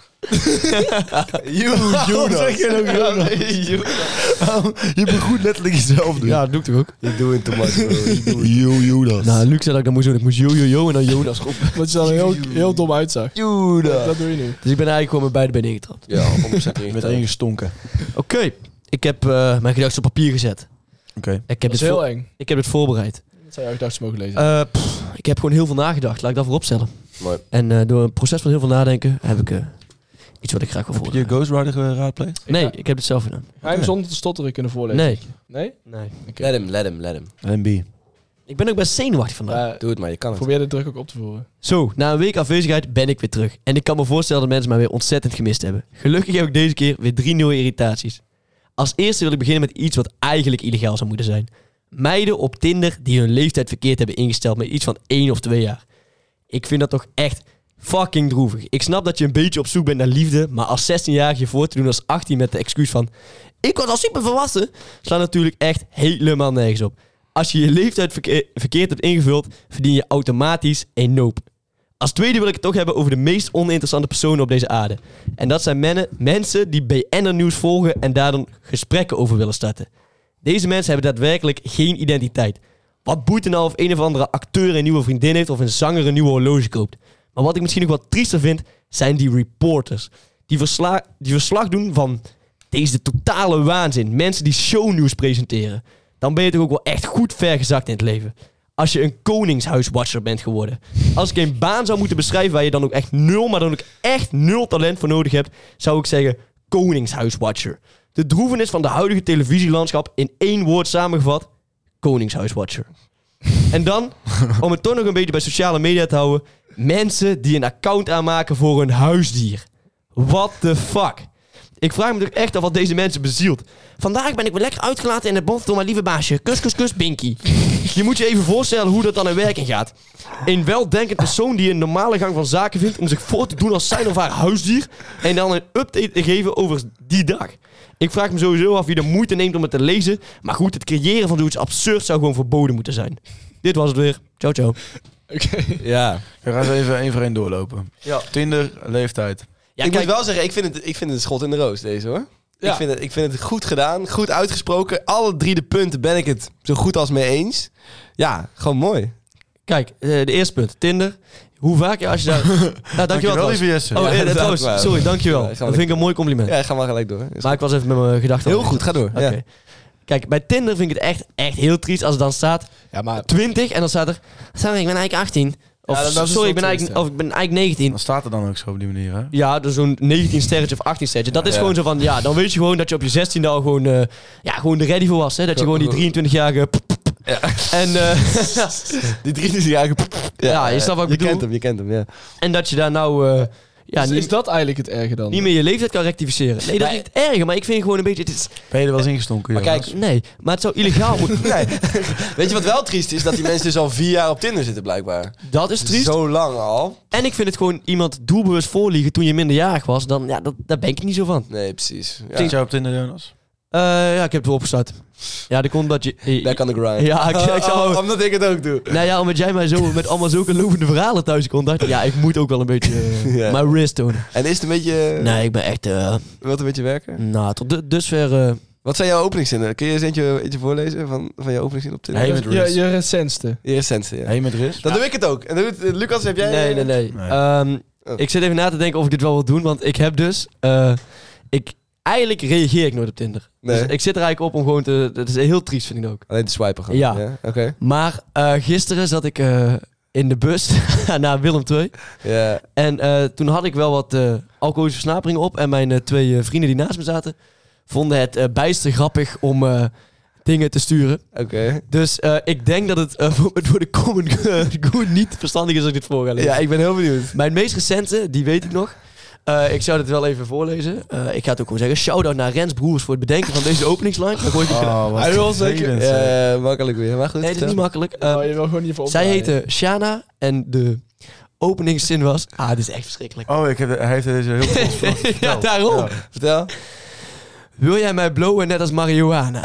Jonas. Je begroet letterlijk jezelf. Ja, dat doe ik toch ook. Je doet het te Yo, Jonas. Nou, Luc zei dat ik dat moest doen. Ik moest yo-yo-yo en dan Jonas roepen. Wat je dan heel, heel dom uitzag. Judah. Dat doe je nu. Dus ik ben eigenlijk gewoon met beide benen ingetrapt. Ja, 100% Met één gestonken. Oké, ik heb eh, mijn gedachten op papier gezet. Oké. Ik heb, Dat is dit heel voor- eng. ik heb dit voorbereid. Dat zou je ook dachten mogen lezen. Eh, pff, ik heb gewoon heel veel nagedacht. Laat ik dat voorop stellen. Mooi. En eh, door een proces van heel veel nadenken heb ik eh, iets wat ik graag wil Heb je voordragen. Ghost Rider geraadpleegd? Nee, ga- ik heb het zelf gedaan. Ga je hem zonder te stotteren kunnen voorlezen? Nee. Nee? nee. Let hem, let hem, let hem. MB. Ik ben ook best zenuwachtig vandaag. Maar Doe het maar, je kan het. probeer de druk ook op te voeren. *laughs* Zo, na een week afwezigheid ben ik weer terug. En ik kan me voorstellen dat mensen mij weer ontzettend gemist hebben. Gelukkig heb ik deze keer weer drie nieuwe irritaties. Als eerste wil ik beginnen met iets wat eigenlijk illegaal zou moeten zijn. Meiden op Tinder die hun leeftijd verkeerd hebben ingesteld met iets van één of twee jaar. Ik vind dat toch echt fucking droevig. Ik snap dat je een beetje op zoek bent naar liefde, maar als 16-jarige je voor te doen als 18 met de excuus van... Ik was al super volwassen, slaat natuurlijk echt helemaal nergens op. Als je je leeftijd verkeer- verkeerd hebt ingevuld, verdien je automatisch een noop. Als tweede wil ik het toch hebben over de meest oninteressante personen op deze aarde. En dat zijn mennen, mensen die BN'er nieuws volgen en daar dan gesprekken over willen starten. Deze mensen hebben daadwerkelijk geen identiteit. Wat boeit het nou of een of andere acteur een nieuwe vriendin heeft of een zanger een nieuwe horloge koopt? Maar wat ik misschien nog wat triester vind, zijn die reporters. Die, versla die verslag doen van deze totale waanzin. Mensen die shownieuws presenteren. Dan ben je toch ook wel echt goed vergezakt in het leven. Als je een koningshuiswatcher bent geworden. Als ik een baan zou moeten beschrijven waar je dan ook echt nul, maar dan ook echt nul talent voor nodig hebt, zou ik zeggen koningshuiswatcher. De droevenis van de huidige televisielandschap in één woord samengevat, koningshuiswatcher. En dan, om het toch nog een beetje bij sociale media te houden, mensen die een account aanmaken voor hun huisdier. What the fuck? Ik vraag me toch echt af wat deze mensen bezielt. Vandaag ben ik weer lekker uitgelaten in het bos door mijn lieve baasje. Kus, kus, kus, Binky. Je moet je even voorstellen hoe dat dan in werking gaat. Een weldenkend persoon die een normale gang van zaken vindt om zich voor te doen als zijn of haar huisdier. En dan een update te geven over die dag. Ik vraag me sowieso af wie de moeite neemt om het te lezen. Maar goed, het creëren van zoiets absurd zou gewoon verboden moeten zijn. Dit was het weer. Ciao, ciao. Oké. Ja. We gaan ze even één voor één doorlopen. Ja. Tinder, leeftijd. Ja, ik kijk, moet wel zeggen, ik vind, het, ik vind het een schot in de roos, deze hoor. Ja. Ik, vind het, ik vind het goed gedaan, goed uitgesproken. Alle drie de punten ben ik het zo goed als mee eens. Ja, gewoon mooi. kijk eh, de eerste punt. Tinder. Hoe vaak je als *laughs* je daar... Nou, dankjewel trouwens. lieve Jesse. Oh, Ja, eh, dat trouwens, is waar. sorry, dankjewel. Ja, dat gaan we vind ik een mooi compliment. Ja, ga maar gelijk door. Is Maar ik was even met mijn gedachten... Heel al- goed, ga door. Oké. Ja. Kijk, bij Tinder vind ik het echt, echt heel triest als het dan staat Ja, maar 20 en dan staat er... Sorry, ik ben eigenlijk 18. Of Ja, dat- dat is sorry, ik wel ben triest, eigenlijk, ja. of ik ben eigenlijk 19. Dan staat er dan ook zo op die manier, hè? Ja, dus zo'n 19 sterretje of 18 sterretje. Dat is Ja. gewoon zo van, ja, dan weet je gewoon dat je op je 16e al gewoon, eh, ja, gewoon er ready voor was. Hè? Dat je gewoon die 23-jarige... p- p- p- En, eh, *laughs* *laughs* Die drie die zich eigenlijk... Ja, je snapt wat ik je bedoel. kent hem, je kent hem, ja. en dat je daar nou eh, Ja, Dus niet, is dat eigenlijk het erge dan? niet meer je leeftijd kan rectificeren. Nee, dat Maar- is niet erg, maar ik vind gewoon een beetje... Het is, Ben je er wel eens ingestonken? Maar Jonas? kijk, nee, maar het zou illegaal moeten... *laughs* Nee. Weet je wat wel triest is? Dat die mensen dus al vier jaar op Tinder zitten blijkbaar. Dat is triest. Zo lang al. En ik vind het gewoon iemand doelbewust voorliegen toen je minderjarig was. Dan, ja, dat, daar ben ik niet zo van. Nee, precies. Ja. Zit jij op Tinder, Jonas? Eh, ja, ik heb het wel opgestart. Ja, dat komt dat je... eh, Back on the grind. Ja, ik- ik *laughs* zou- Oh, omdat ik het ook *laughs* doe. Nou ja, omdat jij mij zo met allemaal zulke lopende verhalen thuis kon, dacht ik, ja, ik moet ook wel een beetje eh, Ja. mijn wrist doen. En is het een beetje... Nee, ik ben echt, eh, Wilt een beetje werken? nou, tot du- dusver... eh, Wat zijn jouw openingszinnen? Kun je eens eentje, eentje voorlezen van, van jouw openingszin op Tinder? Hey met je, Riz. je recentste. Je recentste, ja. Hey met Riz. Dan doe ik het ook. En dan doet- eh, Lucas, heb jij... nee, nee, nee. Nee. Ehm, Oh. Ik zit even na te denken of ik dit wel wil doen, want ik heb dus... eh, ik, eigenlijk reageer ik nooit op Tinder. Nee. Dus ik zit er eigenlijk op om gewoon te... Dat is heel triest, vind ik ook. Alleen te swipen gewoon. Ja. Oké. Maar eh, gisteren zat ik eh, in de bus *laughs* naar Willem II. Ja. En eh, toen had ik wel wat eh, alcoholische versnaperingen op. En mijn eh, twee eh, vrienden die naast me zaten, vonden het eh, bijster grappig om eh, dingen te sturen. Oké. Dus eh, ik denk dat het eh, *laughs* voor- voor de common good niet verstandig is als ik dit voor ga lezen. Ja, ik ben heel benieuwd. Mijn meest recente, die weet ik nog. Eh, ik zou dit wel even voorlezen. Eh, ik ga het ook gewoon zeggen. Shout-out naar Rens Broers voor het bedenken van deze openingsline. Dat hoor je- Ah, Oh, *laughs* wat Hij wil zeker- vervelend, zeg. Ja, makkelijk weer. Maar goed. Nee, dat is niet makkelijk. Eh, oh, je wil gewoon niet voor zij opdraaien. heette Shana en de openingszin was... Ah, dit is echt verschrikkelijk. Oh, ik heb, hij heeft deze *laughs* heel veel Oh, *laughs* ja, verteld. daarom. Vertel. Wil jij mij blowen net als marihuana?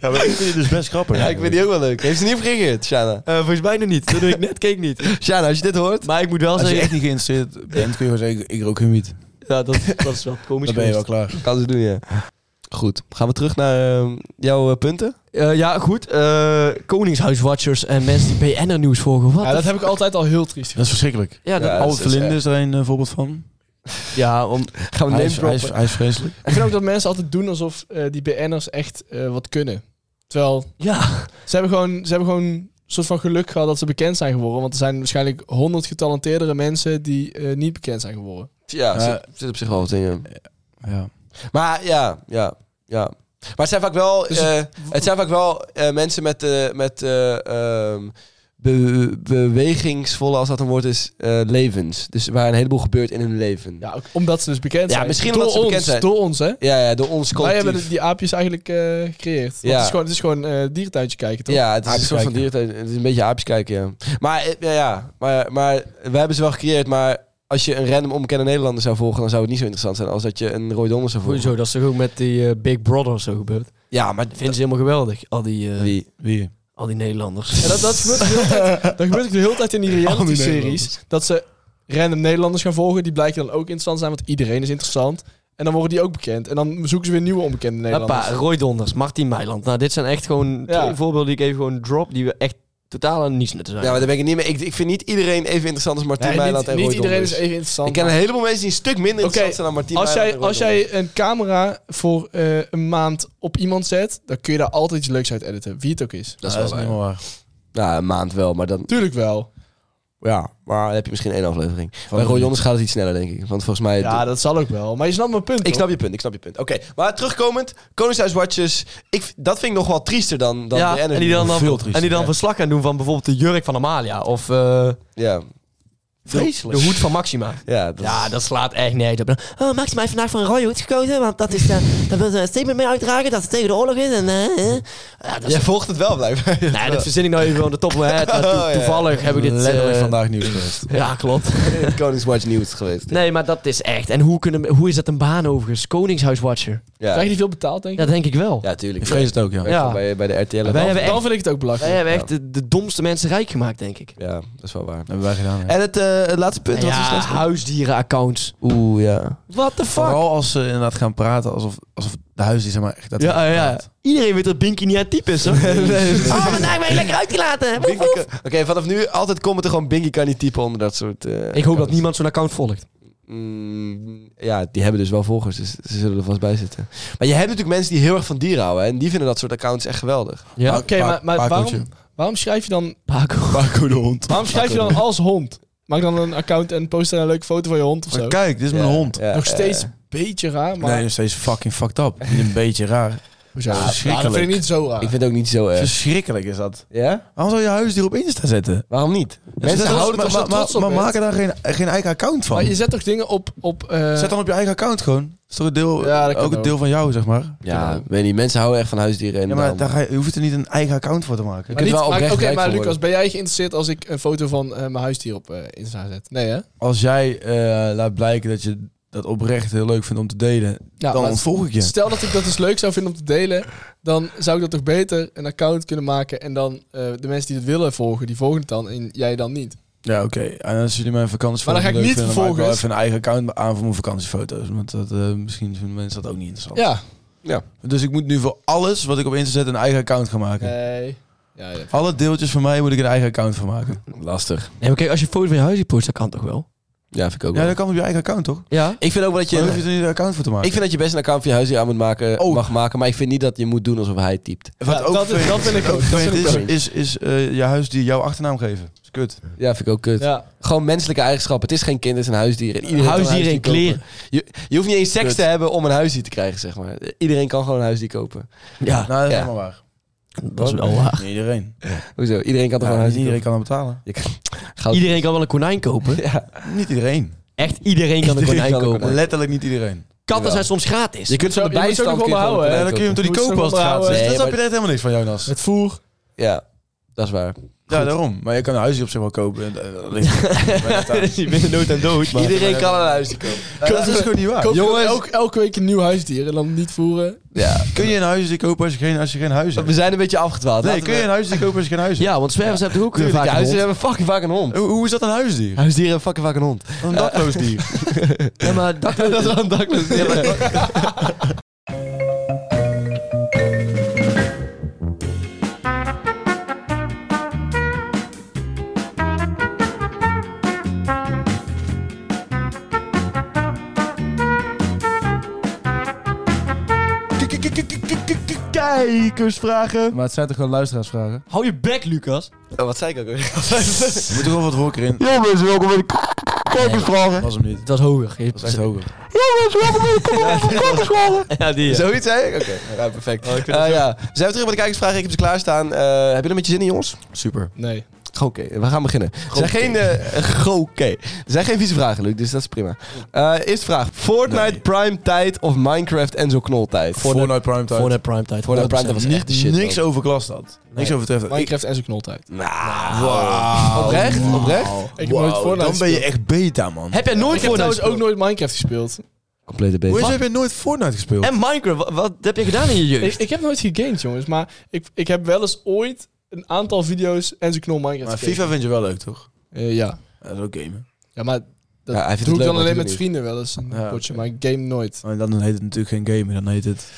Ja, maar ik vind het dus best grappig. Ja, ik vind die ook wel leuk. Heeft ze niet op gereageerd, Shana? Eh, volgens mij nog niet. Toen ik net keek niet. Shana, als je dit hoort... Maar ik moet wel Als je zeggen... echt niet geïnteresseerd bent, kun je gewoon zeggen, ik- ik rook geen wiet. Ja, dat, dat is wel komisch Dan ben je wel geweest. klaar. Kan ze doen, ja. Goed. Gaan we terug naar ehm, jouw eh, punten? Eh, ja, goed. eh, Koningshuiswatchers en mensen die BN'er nieuws volgen. Wat Ja, de dat f- heb ik altijd al heel triest. Dat is verschrikkelijk. ja, dat- Ja, Albert dat is Verlinde is er een eh, voorbeeld van. ja, om... Gaan we Hij name is, hij, is, droppen? hij is vreselijk. Ik vind ook dat mensen altijd doen alsof eh, die BN'ers echt eh, wat kunnen. Terwijl Ja. ze hebben gewoon, ze hebben gewoon een soort van geluk gehad dat ze bekend zijn geworden. Want er zijn waarschijnlijk honderd getalenteerdere mensen die eh, niet bekend zijn geworden. Ja, Eh, zit, zit op zich wel wat in, ja. Ja. Maar ja, ja, ja. Maar het zijn vaak wel, Dus eh, het zijn vaak wel eh, mensen met, eh, met eh, ehm, be- bewegingsvolle, als dat een woord is, eh, levens. Dus waar een heleboel gebeurt in hun leven. Ja, Ja, ook omdat ze dus bekend Ja, zijn. misschien door omdat ze ons, bekend zijn. Door ons, hè? ja, door ons Wij collectief. hebben de- die aapjes eigenlijk eh, gecreëerd. Want Ja. Het is gewoon, het is gewoon eh, dierentuintje kijken, toch? Ja, het is een Aapjes soort van kijken. dierentuin. Het is een beetje aapjes kijken, ja. Maar, eh, ja, ja. maar, maar we hebben ze wel gecreëerd, maar... Als je een random onbekende Nederlander zou volgen, dan zou het niet zo interessant zijn als dat je een Roy Donder zou volgen. Zo, dat is toch ook met die eh, Big Brother zo gebeurd. Ja, maar Dat vinden ze helemaal geweldig, al die, eh, wie? Wie? al die Nederlanders. Ja, dat, dat, gebeurt de *laughs* hele tijd, dat gebeurt ook de hele tijd in die Oh, reality-series. Dat ze random Nederlanders gaan volgen. Die blijken dan ook interessant zijn, want iedereen is interessant. En dan worden die ook bekend. En dan zoeken ze weer nieuwe onbekende Nederlanders. Hoppa, Roy Donders, Martin Meiland. Nou, dit zijn echt gewoon Ja. twee voorbeelden die ik even gewoon drop, die we echt totaal aan niets nuttig zijn. Ja, maar daar ben ik het niet mee. Ik, ik vind niet iedereen even interessant als Martien Nee, Meiland niet, en niet Roy iedereen Donders. is even interessant. dus. Ik ken een heleboel mensen die een stuk minder interessant zijn dan Martien als jij, Meiland en als Roy jij een camera voor eh, een maand op iemand zet, dan kun je daar altijd iets leuks uit editen, wie het ook is. Donders. Ah, Dat is wel waar. niet waar. Ja, Nou, een maand wel, maar dan... Tuurlijk wel. Ja, maar dan heb je misschien één aflevering. Bij Roy Donders gaat het iets sneller, denk ik. Want volgens mij... Ja, dat zal ook wel. Maar je snapt mijn punt. Ik hoor. snap je punt, ik snap je punt. Oké, maar terugkomend, Koningshuiswatches. Ik, dat vind ik nog wel triester dan, dan Ja, de en die dan, Veel dan, triester, en die dan ja. verslag gaan doen van bijvoorbeeld de jurk van Amalia of eh, Ja, de, de hoed van Maxima. ja, dat, Ja, dat slaat echt nergens op. Oh, Maxima heeft vandaag voor een rode hoed gekozen, want dat is, eh daar wil ze een statement mee uitdragen dat het tegen de oorlog is. En, eh, eh. ja, dat is- Jij volgt het wel, blijkbaar. nee, dat verzin ik nou even aan de top van mijn head. *laughs* maar to- *laughs* Oh, ja. Toevallig heb ik dit... Letterlijk eh, vandaag nieuws geweest. Ja, klopt. het *laughs* Koningswatch nieuws geweest. Nee, maar dat is echt. En hoe, kunnen, hoe is dat een baan overigens? Koningshuiswatcher. Ja, Krijg je die veel betaald, denk ik? Ja, denk ik wel. ja tuurlijk. Ik vrees het ook, ja. Ja. Bij, bij de RTL. Wij hebben dan echt- vind ik het ook belachelijk. Wij hebben echt de, de domste mensen rijk gemaakt, denk ik. Ja, dat is wel waar. Dat hebben wij gedaan. hè. En het, eh, het laatste punt, wat is Ja, het laatste? huisdierenaccounts. Oeh, ja. What the fuck? Vooral als ze inderdaad gaan praten alsof, alsof de huis die zeg maar echt... Ja, ja. *laughs* Iedereen weet dat Binky niet aan type is, *laughs* hoor. *laughs* Oh, vandaag ben je lekker uitgelaten. Woef, Binky woef. kan- Oké, vanaf nu altijd commenten gewoon Binky kan niet typen onder dat soort... eh, Ik hoop dat accounts. niemand zo'n account volgt. Mm, ja, die hebben dus wel volgers, dus ze zullen er vast bij zitten. Maar je hebt natuurlijk mensen die heel erg van dieren houden. hè, En die vinden dat soort accounts echt geweldig. Ja. Oké, maar, maar waarom, waarom schrijf je dan, Paco. *laughs* Paco de hond. waarom schrijf je *laughs* dan als hond? Maak dan een account en post daar een leuke foto van je hond of zo. Maar kijk, dit is mijn Ja, hond. ja, Nog ja, steeds ja. een beetje raar, *laughs* maar... Nee, nog steeds fucking fucked up. Niet een beetje raar. Hoezo? Nou, dat vind Verschrikkelijk. ik niet zo raar. Ik vind het ook niet zo erg. Verschrikkelijk is dat. Ja? Waarom zou je huisdier op Insta zetten? Waarom niet? Mensen houden maar, toch zo maar, maar, trots op, maar hè? maken daar geen, geen eigen account van. Maar je zet toch dingen op... op eh, Zet dan op je eigen account gewoon. Dat is toch een deel, Ja, dat kan ook een ook. deel van jou, zeg maar. Ja, weet niet. Mensen houden echt van huisdieren. En Ja, maar daarom- daar ga je, je hoeft er niet een eigen account voor te maken. kunt maar niet- wel maar- oprecht Oké, rijk maar van Lucas, worden. ben jij geïnteresseerd als ik een foto van eh, mijn huisdier op eh, Insta zet? Nee, hè? Als jij eh, laat blijken dat je dat oprecht heel leuk vindt om te delen, Ja, dan maar- ontvolg ik je. Stel dat ik dat dus leuk zou vinden om te delen, dan zou ik dat toch beter een account kunnen maken en dan eh, de mensen die het willen volgen, die volgen het dan en jij dan niet. Ja, oké. En als jullie mijn Maar dan vakantiefoto's ga ik leuk niet vinden, dan maak ik wel vervolgens- even een eigen account aan voor mijn vakantiefoto's. Want dat, eh, misschien vinden mensen dat ook niet interessant. Ja. Dus ik moet nu voor alles wat ik op Insta zet een eigen account gaan maken. Nee. Ja, ja. Alle deeltjes van mij moet ik een eigen account van maken. Lastig. Nee, maar kijk, als je een foto van je huisdier post, dat kan toch wel? Ja, vind ik ook Ja, wel. dat Oh, kan op je eigen account, toch? Ja. Ik vind ook wel dat Je hoef je... je er niet een account voor te maken. Ik vind dat je best een account voor je huisdier aan moet maken, Oh. mag maken. Maar ik vind niet dat je moet doen alsof hij het typt. Wat Ja, dat, is, dat vind ik ook. Dat vervelend vind ik ook. is, is, is eh, je huisdier jouw achternaam geven. Dat is kut. Ja, vind ik ook kut. Ja. Gewoon menselijke eigenschappen. Het is geen kind, het is een huisdier. En iedereen kan een Huisdieren in huisdier kopen. kleren. Je, je hoeft niet eens seks Kut. te hebben om een huisdier te krijgen, zeg maar. Iedereen kan gewoon een huisdier kopen. Ja, Nou, dat is Ja. helemaal waar. dat is wel waar. Niet iedereen. Hoezo? Iedereen kan toch gewoon een Ja, niet huisdier iedereen kan dat betalen. Goud. *laughs* Iedereen kan wel een konijn kopen. kopen? Ja. Niet iedereen. Echt iedereen kan een Iedereen konijn kan een kopen. konijn. Letterlijk niet iedereen. Katten zijn soms gratis. Je kunt Zo, zo'n je moet ze ook nog bijstand kun je onderhouden, gewoon hè? Ja, een dan kun je hem konijn toch Moet je niet kopen ze als het gaat. onderhouden? Dus Nee, dan snap maar- je net helemaal niks van, *laughs* Jonas. Het voer. kopen. Ja, dat is waar. Ja, daarom. Maar je kan een huisdier op zich wel kopen. En, eh, dat ligt- maar dat- Je bent dood en *laughs* dood, maar... Iedereen kan een *laughs* huisdier kopen. Dat is gewoon niet waar. Koop Jongens. elk- elke week een nieuw huisdier en dan niet voeren. Ja. Kun je een huisdier kopen als je geen, als je geen huis hebt? We zijn een beetje afgedwaald. Nee, Laten kun je we- een huisdier kopen als je geen huis hebt? Ja, want zwervers hebben toch ook eh, Tuurlijk, vaak ja, een hond? huisdieren hebben fucking vaak een hond. Hoe, hoe is dat een huisdier? Huisdieren hebben fucking vaak een hond. Een dakloos dier. Ja, maar dat, dat is wel een dakloos. Ja, maar- Maar het zijn toch gewoon luisteraarsvragen? Hou je bek, Lucas. Oh, wat zei ik ook weer? *laughs* Er moet toch wel wat wokker in. Jongens, welkom bij de Dat was hem niet. Dat is hoger. Dat is echt hoger. Ja, die. ja. Zoiets zei ik? Oké, ja, perfect. Eh, ja. We zijn weer terug bij de kijkersvragen. Ik heb ze klaarstaan. Eh hebben jullie met je zin in, jongens? Super. Nee. Oké, we gaan beginnen. Er zijn geen, eh, oké. Er zijn geen vieze vragen, Luc, dus dat is prima. Eh eerste vraag. Fortnite Prime tijd of Minecraft Enzo Knol tijd? Fortnite Prime Time. Voor de primetime. Voor de primetime was echt de shit. Niks man. over klas dat. Niks over treffend. Minecraft en zijn knoltijd. Nou, Oprecht? Oprecht? Ik heb nooit Fortnite Oh, dan ben je gespeeld. echt beta, man. Heb jij nooit Ik heb Fortnite trouwens ook gespeeld? nooit Minecraft gespeeld. Complete Hoe is beest. heb je nooit Fortnite gespeeld? En Minecraft, wat, wat heb je gedaan in je jeugd? Ik, ik heb nooit gegamed, jongens. Maar ik, ik heb wel eens ooit een aantal video's en zijn knol Minecraft Maar gekeken. FIFA vind je wel leuk, toch? Eh, ja. Ja, dat is ook gamen. Ja, maar dat Ja, hij vindt het doe ik leuk, dan maar alleen doe met niet. vrienden wel eens een Ja, potje, oké. maar ik game nooit. Maar Oh, dan heet het natuurlijk geen gamen, dan heet het...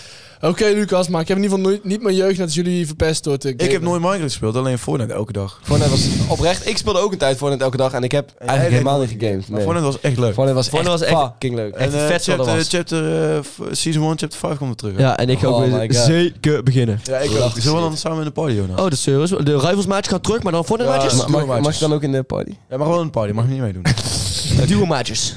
Oké, Lucas, maar ik heb in ieder geval nooit, niet mijn jeugd net als jullie verpest door te gamen. Ik heb nooit Minecraft gespeeld, alleen Fortnite elke dag. Fortnite was oprecht. Ik speelde ook een tijd Fortnite elke dag en ik heb eigenlijk deed helemaal nooit niet gegamed. Maar Nee. Fortnite, Fortnite was echt leuk. was, Fortnite echt was echt- fucking leuk. echt en eh, vet zo, dat chapter, was. chapter, eh, f- Season 1, chapter 5 komt er terug. hè? Ja, en ik ga Oh ook my weer God. zeker beginnen. ja ik ook. Zullen we dan samen in de party, Jonas? Oh, de servers. De rivals gaan terug, maar dan Fortnite *laughs* Ja, maatjes. maar- Mag, Doe mag je maatjes. dan ook in de party? Ja, maar gewoon een party, mag je niet *laughs* meedoen. Duo maatjes.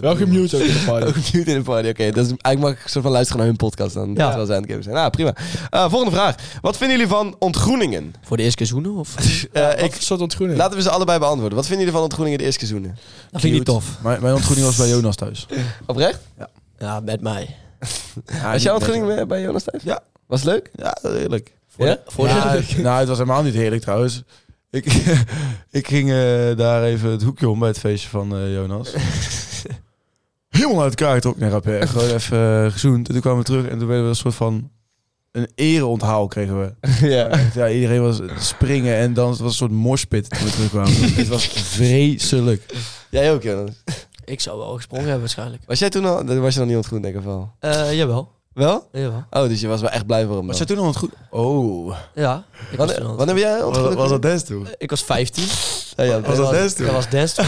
Wel gemute ook in de party. *laughs* Ook niet in de party, oké. Dat is eigenlijk mag ik soort van luisteren naar hun podcast dan. Ja. Terwijl zij aan het gamen zijn. Nou, prima. Eh, volgende vraag. Wat vinden jullie van *laughs* ontgroeningen? Voor de eerste keer zoenen, *laughs* of? Eh, Ja, ik, wat voor soort ontgroening. laten we ze allebei beantwoorden. Wat vinden jullie van ontgroeningen de eerste seizoenen? Dat vind ik niet tof. Mijn, mijn ontgroening was bij Jonas thuis. Oprecht? Ja, met mij. Was jouw ontgroening bij, bij Jonas thuis? Ja. Was het *laughs* leuk? Ja, heerlijk. Voor ja? Voor de... *laughs* Ja, nou, het was helemaal niet heerlijk trouwens. Ik, *laughs* ik ging eh, daar even het hoekje om bij het feestje van eh, *laughs* Jonas. Helemaal uit elkaar getrokken. Nee, grapje. Echt Gewoon even eh, gezoend. En toen kwamen we terug en toen werden we een soort van... Een ereonthaal kregen *laughs* we. ja. Echt, Ja, iedereen was springen en dan was het een soort morspit toen we terugkwamen. *laughs* het was vreselijk. Jij ook, Jonas. Ik zou wel gesprongen hebben, waarschijnlijk. Was jij toen al... Dan was je nog niet ontgroen, denk ik wel. Eh, jawel. Wel? Jawel. Oh, dus je was wel echt blij voor hem Was dan. jij toen al het goed? Oh. Ja. Ik was, Wanneer, toen al- wanneer ben jij Was, ontgroen? was dat des toen? ik was 15. Ja, ja, was dat dance toen? Dat was dance *laughs* toen.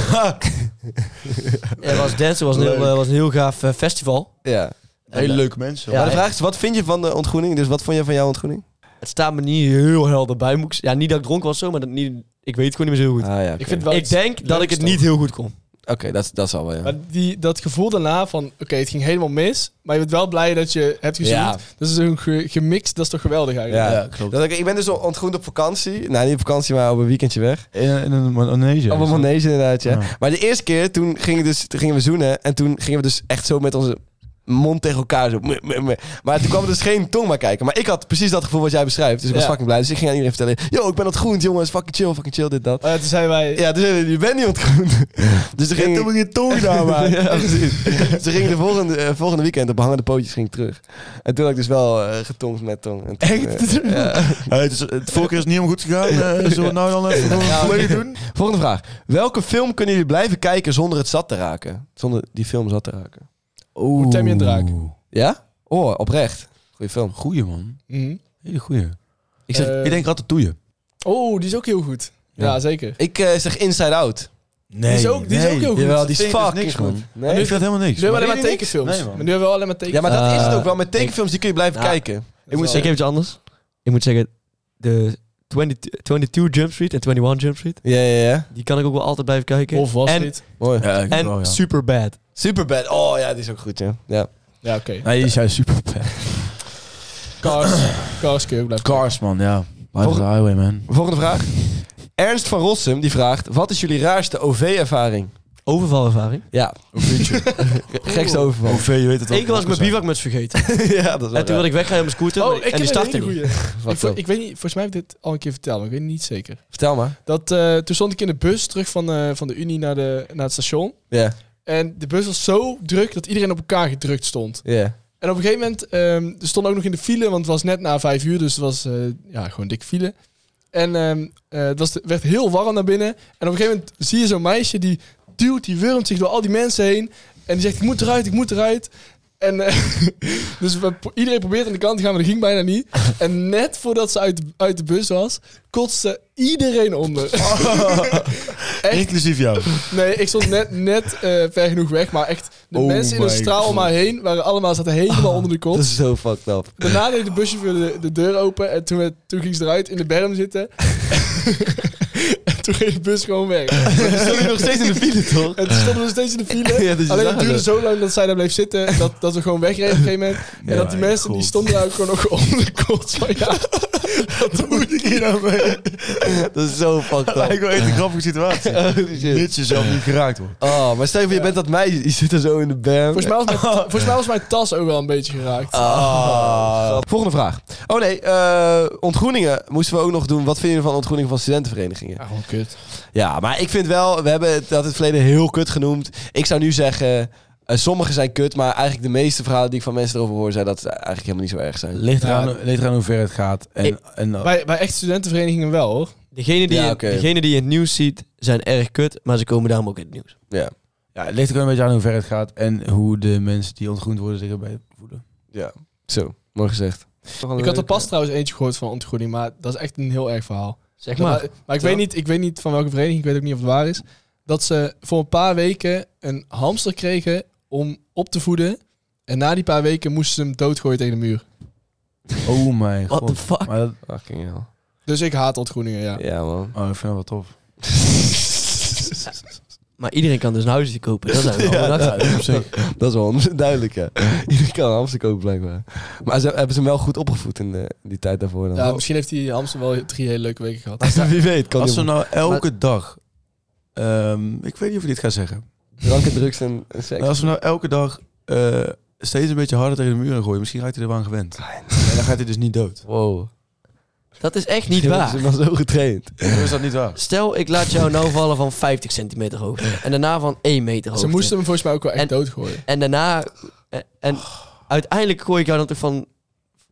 Ja, dat was dance. was een heel, Leuk. eh, was een heel gaaf eh, festival. Ja. Hele leuke mensen. Ja, Maar de vraag is, wat vind je van de ontgroening? Dus wat vond je van jouw ontgroening? Het staat me niet heel helder bij. Moet ik, ja, niet dat ik dronken was zo, maar dat niet, ik weet het gewoon niet meer zo heel goed. Ah ja, oké. Ik vind het wel ik iets denk dat leuks ik het toch? niet heel goed kon. Oké, dat, dat zal wel, ja. Maar die, dat gevoel daarna van, oké, het ging helemaal mis, maar je bent wel blij dat je hebt gezien. Ja. Dat is een ge- gemixt, dat is toch geweldig eigenlijk. Ja, Ja, klopt. Dat ik, ik ben dus ontgroend op vakantie. Nou, niet op vakantie, maar op een weekendje weg. In, in een manege. Op een manege inderdaad, ja. Ja. Maar de eerste keer, toen gingen, dus, toen gingen we zoenen. En toen gingen we dus echt zo met onze mond tegen elkaar. Zo. meh, meh, meh. Maar toen kwam er dus geen tong maar kijken. Maar ik had precies dat gevoel wat jij beschrijft. Dus ik was Ja. fucking blij. Dus ik ging aan iedereen vertellen. Yo, ik ben ontgroend, jongens. Fucking chill, fucking chill, dit, dat. Oh ja, toen zijn wij... *laughs* Ja, dus eh, je bent niet ontgroend. *laughs* Dus toen ging je tong daar, maar. *laughs* *laughs* ja, precies. dus toen ging ik de volgende, eh, volgende weekend op hangende pootjes ging ik terug. En toen had ik dus wel eh, getongd met tong. En toen, eh, Echt? Hey, het, is, het vorige keer is het niet helemaal goed gegaan. *laughs* Eh, zullen we nou dan even gewoon Ja, volledig doen? Volgende vraag. Welke film kunnen jullie blijven kijken zonder het zat te raken? Zonder die film zat te raken. Oeh. Tem je een draak? Ja? Oh, oprecht. Goeie film. Goeie, man. Mhm. Hele goeie. Ik, zeg, Eh, ik denk ratatouille. Oh, die is ook heel goed. Ja, Ja. zeker. Ik eh, zeg Inside Out. Nee, die is ook- die is ook heel goed. Jawel, die is Vind ik dus fucking niks, goed. man. Nee. Nu vind dat helemaal niks. Nu hebben we Maar alleen die maar niks? tekenfilms. Nee, man. maar nu hebben we alleen maar Ja, tekenfilms. maar dat is Ah. het Eh, ook wel. Met tekenfilms die kun je blijven ja. kijken. Ik, moet, wel- ik heb iets anders. Ik moet zeggen, de 20, 22 Jump Street en 21 Jump Street, Ja, ja, ja. die kan ik ook wel altijd blijven kijken. Of was en, dit? Mooi. Ja, ik En wel, ja. Superbad. Superbad. Oh ja, die is ook goed, ja. ja. Ja, oké. Nee, die zijn super Cars. Cars *coughs* kun je ook blijven Cars, man, ja. Life Volg- is a highway, man. Volgende vraag. Ernst van Rossum die vraagt: Wat is jullie raarste OV-ervaring? Overvalervaring. Ja. *laughs* Gekste overval. Hoeveel je weet het wel. Eén keer was ik mijn bivak met vergeten. *laughs* ja, dat is wel en toen raar. wilde ik weggaan op mijn scooter Oh, maar- ik en ken die een startte hele niet. goeie. Ik, Wat vo- dan? ik weet niet, volgens mij heb ik dit al een keer verteld, maar ik weet niet zeker. Vertel maar. Dat, eh, toen stond ik in de bus terug van, eh, van de Unie naar, de, naar het station. Ja. En de bus was zo druk dat iedereen op elkaar gedrukt stond. Ja. En op een gegeven moment, ehm er stond ook nog in de file, want het was net na vijf uur, dus het was eh, ja, gewoon dik file. En ehm, eh, het was, werd heel warm naar binnen. En op een gegeven moment zie je zo'n meisje die duwt, die wurmt zich door al die mensen heen. En die zegt, ik moet eruit, ik moet eruit. En eh, *laughs* dus we, pro- iedereen probeert aan de kant te gaan, maar dat ging bijna niet. En net voordat ze uit, uit de bus was, kotste iedereen onder. Oh. echt, Inclusief *laughs* jou. *laughs* nee, ik stond net, net eh, ver genoeg weg, maar echt, de Oh mensen in een my straal om God. mij heen waren allemaal, zaten helemaal *laughs* onder de kont. Dat is zo fucked *laughs* up. Daarna deed de buschauffeur de, de deur open en toen, werd- toen ging ze eruit in de berm *laughs* zitten. en toen ging de bus gewoon weg. Die stonden nog steeds in de file, toch? En toen stonden we steeds in de *laughs* file. Ja, dus je Alleen zag het duurde het. zo lang dat zij daar bleef zitten. Dat, dat we gewoon wegreden op een gegeven moment. En dat die mijn mensen die God. stonden daar ook gewoon nog onder de kot van *laughs* ja. Wat moet ik hier nou mee? Dat is zo *laughs* fucked Lijkt up. wel echt een grappige *laughs* situatie. Holy shit. Dit jezelf niet geraakt wordt. Oh, maar stel je voor, je bent dat meisje, die zit er zo in de berm. Volgens mij, was mijn, volgens mij was mijn tas ook wel een beetje geraakt. Ah. Volgende vraag. Oh nee, eh, ontgroeningen moesten we ook nog doen. Wat vind je van ontgroeningen van studentenverenigingen? Ja, gewoon kut. Ja, maar ik vind wel, we hebben het, dat in het verleden heel kut genoemd. Ik zou nu zeggen, eh, sommige zijn kut, maar eigenlijk de meeste verhalen die ik van mensen erover hoor, zijn dat ze eigenlijk helemaal niet zo erg zijn. Ligt eraan- eraan, hoe ver het gaat. En, Ik- en, Bij, bij echt studentenverenigingen wel hoor. Degene die, Ja, je- oké. degene die je in het nieuws ziet, zijn erg kut, maar ze komen daarom ook in het nieuws. Ja. ja, het ligt er een beetje aan hoe ver het gaat. En hoe de mensen die ontgroend worden zich erbij voelen. ja, zo. Mooi gezegd. Ik had er pas trouwens eentje gehoord van ontgroening, maar dat is echt een heel erg verhaal. Zeg Ja, maar. Maar, maar ik, weet niet, ik weet niet van welke vereniging, ik weet ook niet of het waar is. Dat ze voor een paar weken een hamster kregen om op te voeden. En na die paar weken moesten ze hem doodgooien tegen de muur. Oh mijn god. What the fuck? Maar dat, Fucking hell. Dus ik haat ontgroeningen, ja. Ja, *laughs* man. oh, ik vind dat wel tof. Maar iedereen kan dus een huisje *laughs* kopen. Dat zijn we wel bedacht. op zich. Dat is wel *laughs* on- duidelijk, ja. Iedereen kan een hamster kopen, blijkbaar. Maar ze, hebben ze hem wel goed opgevoed in de, die tijd daarvoor dan? Ja, misschien heeft die hamster wel drie hele leuke weken gehad. *laughs* Wie weet, kan Als hij ze op nou elke dag... ehm, ik weet niet of ik dit ga zeggen. drank en drugs en, en seks. Maar als we nou elke dag eh, steeds een beetje harder tegen de muur gooien... Misschien raakt hij er wel aan gewend. En dan gaat hij dus niet *laughs* dood. Wow. Dat is echt niet Misschien hebben waar. Ze hebben hem al zo getraind. Of is dat niet waar? Stel, ik laat jou nou vallen van 50 centimeter hoogte. En daarna van 1 meter hoogte. Ze moesten hem volgens mij ook wel echt En- doodgooien. En daarna... eh, En uiteindelijk gooi ik jou dan toch van,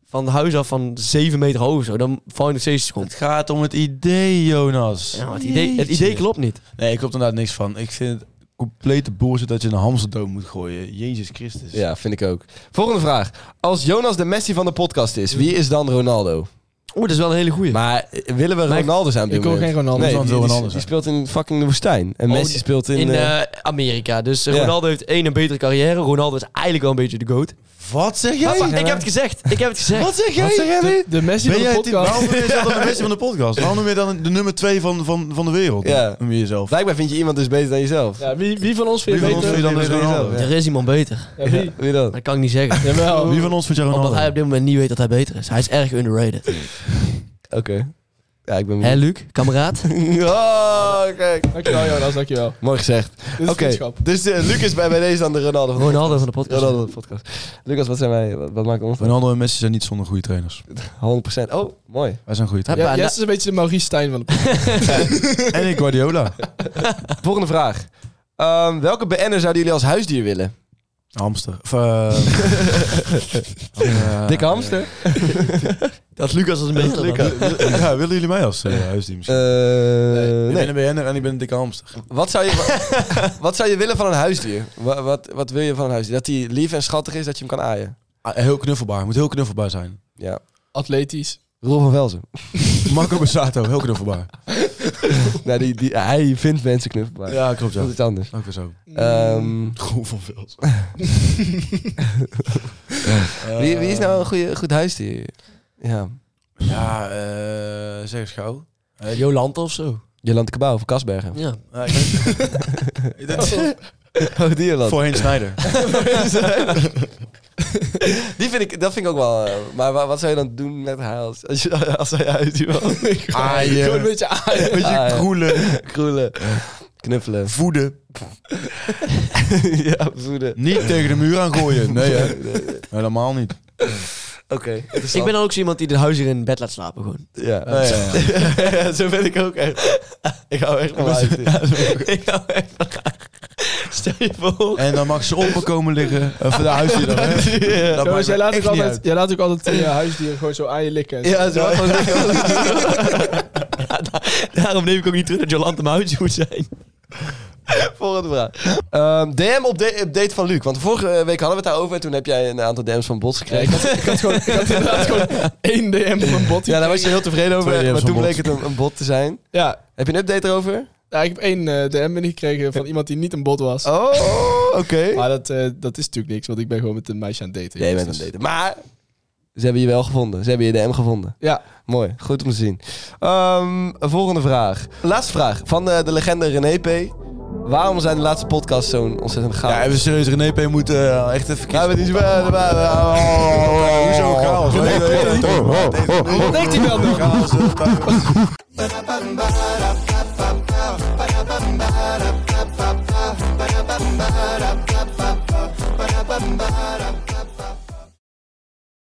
van huis af van 7 meter hoog of zo. Dan val je nog steeds gewoon. Het gaat om het idee, Jonas. Ja, maar het, idee, het idee klopt niet. Nee, ik klopt inderdaad niks van. Ik vind het complete bullshit dat je een hamster dood moet gooien. Jezus Christus. Dus Ja, vind ik ook. Volgende vraag. Als Jonas de Messi van de podcast is, wie is dan Ronaldo? Oeh, dat is wel een hele goeie. Maar eh, willen we Ronaldo zijn op dit Ik wil moment? geen Ronaldo. Nee, Ronaldo die, wil die- Ronaldo die zijn. speelt in fucking de woestijn. En Oh, Messi die- speelt in... In eh, eh, Amerika. Dus eh, Ja. Ronaldo heeft één een betere carrière. Ronaldo is eigenlijk wel een beetje de goat. Wat zeg jij? Maar- maar ik heb het gezegd. Ik heb *laughs* het gezegd. Wat zeg jij? Wat zeg De, de Messi Ben van jij de het- podcast. waarom ben je zelf dan de beste van de podcast? Waarom noem je dan de nummer twee van, van, van de wereld? Ja. Noem je jezelf. Blijkbaar vind je iemand dus beter dan jezelf. Ja, wie, wie van ons Wie vindt beter? van ons vind je dan dus Beter dan Ronaldo? jezelf, Er is iemand beter. Ja, wie? Ja, Wie dan? Dat kan ik niet zeggen. *laughs* Oh. Jawel. Wie van ons vind jij Omdat hij Ronaldo? op dit moment niet weet dat hij beter is. Hij is erg underrated. Oké. Ja, ik ben Hé, benieuwd. Luc? *laughs* Kameraad? Oh, kijk. Dankjewel Jonas, dankjewel. Mooi gezegd. Dit is Oké, vriendschap. dus eh, Luc is bij, bij deze dan de Ronaldo van de Ronaldo van de podcast. *laughs* Ronaldo van podcast. de podcast. Lucas, wat zijn wij? Wat, wat maakt ons dan? Ronaldo en Messi zijn niet zonder goede trainers. 100%. Oh, mooi. Wij zijn goede Ja, trainers. Ja, en Jess da- is een beetje de Maurice Stijn van de podcast. En ik Guardiola. Volgende vraag. Ehm, welke BN'er zouden jullie als huisdier willen? Hamster. Of, *laughs* eh, eh, Dikke hamster? Dat is Lucas als een beetje Wil- wil- ja, willen jullie mij als eh, huisdier misschien? Eh, Ik nee. ben een BN'er en ik ben een dikke hamster. Wat, zou je, wat, *laughs* wat zou je willen van een huisdier? Wat, wat, wat wil je van een huisdier? Dat hij lief en schattig is, dat je hem kan aaien. Ah, heel knuffelbaar. Moet heel knuffelbaar zijn. Ja. Atletisch. Roel van Velzen. *laughs* Marco Borsato, heel knuffelbaar. nee, die, die, hij vindt mensen knuffelbaar. Ja, klopt Dat ja. is iets anders. Ook weer zo. Ehm, Groen van Vels. wie, wie is nou een goede, goed huisdier? Ja. Ja, eh zeg eens gauw. Eh, Jolante of zo. Jolante Cabau van Kasbergen. Ja. *laughs* *laughs* Ja, ik weet- Ik denk- Oh, die Jolante. Voorheen Snijder. *laughs* Die vind ik, dat vind ik ook wel... eh, maar wa- wat zou je dan doen met haar als, als, je, als hij huisdier was? Aaien. Gewoon een beetje aaien. Weet je, Ah, ja. kroelen, Kroelen. Knuffelen. voeden. *laughs* ja, voeden. Niet tegen de muur aan gooien. Nee, hè? helemaal niet. Oké. Ik ben dan ook zo iemand die de huisdier in bed laat slapen gewoon. Ja. Nee, ja, ja. Oh, Ja, *laughs* zo ben ik ook echt. Ik hou echt van huisdieren. *laughs* Ik hou echt van haar. Stel je voor. En dan mag ze op me komen liggen. Of de huisje dan. Hè? Jonas, Dat maakt jij me laat, ook echt niet altijd, uit. jij laat ook altijd eh, je huisdieren gewoon zo aan je likken. en *laughs* zo. Ja, zo. Daarom neem ik ook niet terug dat Jolante mijn huisdier moet zijn. *laughs* Volgende vraag. Ehm, DM op de update van Luc. Want vorige week hadden we het daarover en toen heb jij een aantal DM's van bots Ja, ik, gekregen. had, ik had gewoon, ik had inderdaad gewoon één DM op mijn *laughs* bot. Ja, daar was je heel tevreden over, Twee DM's maar van toen bleek bots. het een, een bot te zijn. Ja, Heb je een update erover? ja, ik heb één eh, DM binnengekregen van iemand die niet een bot was. Oh, oké. *laughs* Maar dat, eh, dat is natuurlijk niks, want ik ben gewoon met een meisje aan het daten. Jij bent aan het daten. Maar ze hebben je wel gevonden. Ze hebben je DM gevonden. Ja. Mooi, goed om te zien. Ehm, volgende vraag. Laatste vraag van eh, de legende René P. Waarom zijn de laatste podcasts zo'n ontzettend gaaf? Ja, hebben serieus René P. moet eh, echt even Ja, kiezen. maar *laughs* die is... Hoezo Hoezo chaos? Weet je, weet je, Wat denkt hij wel nog? chaos, eh,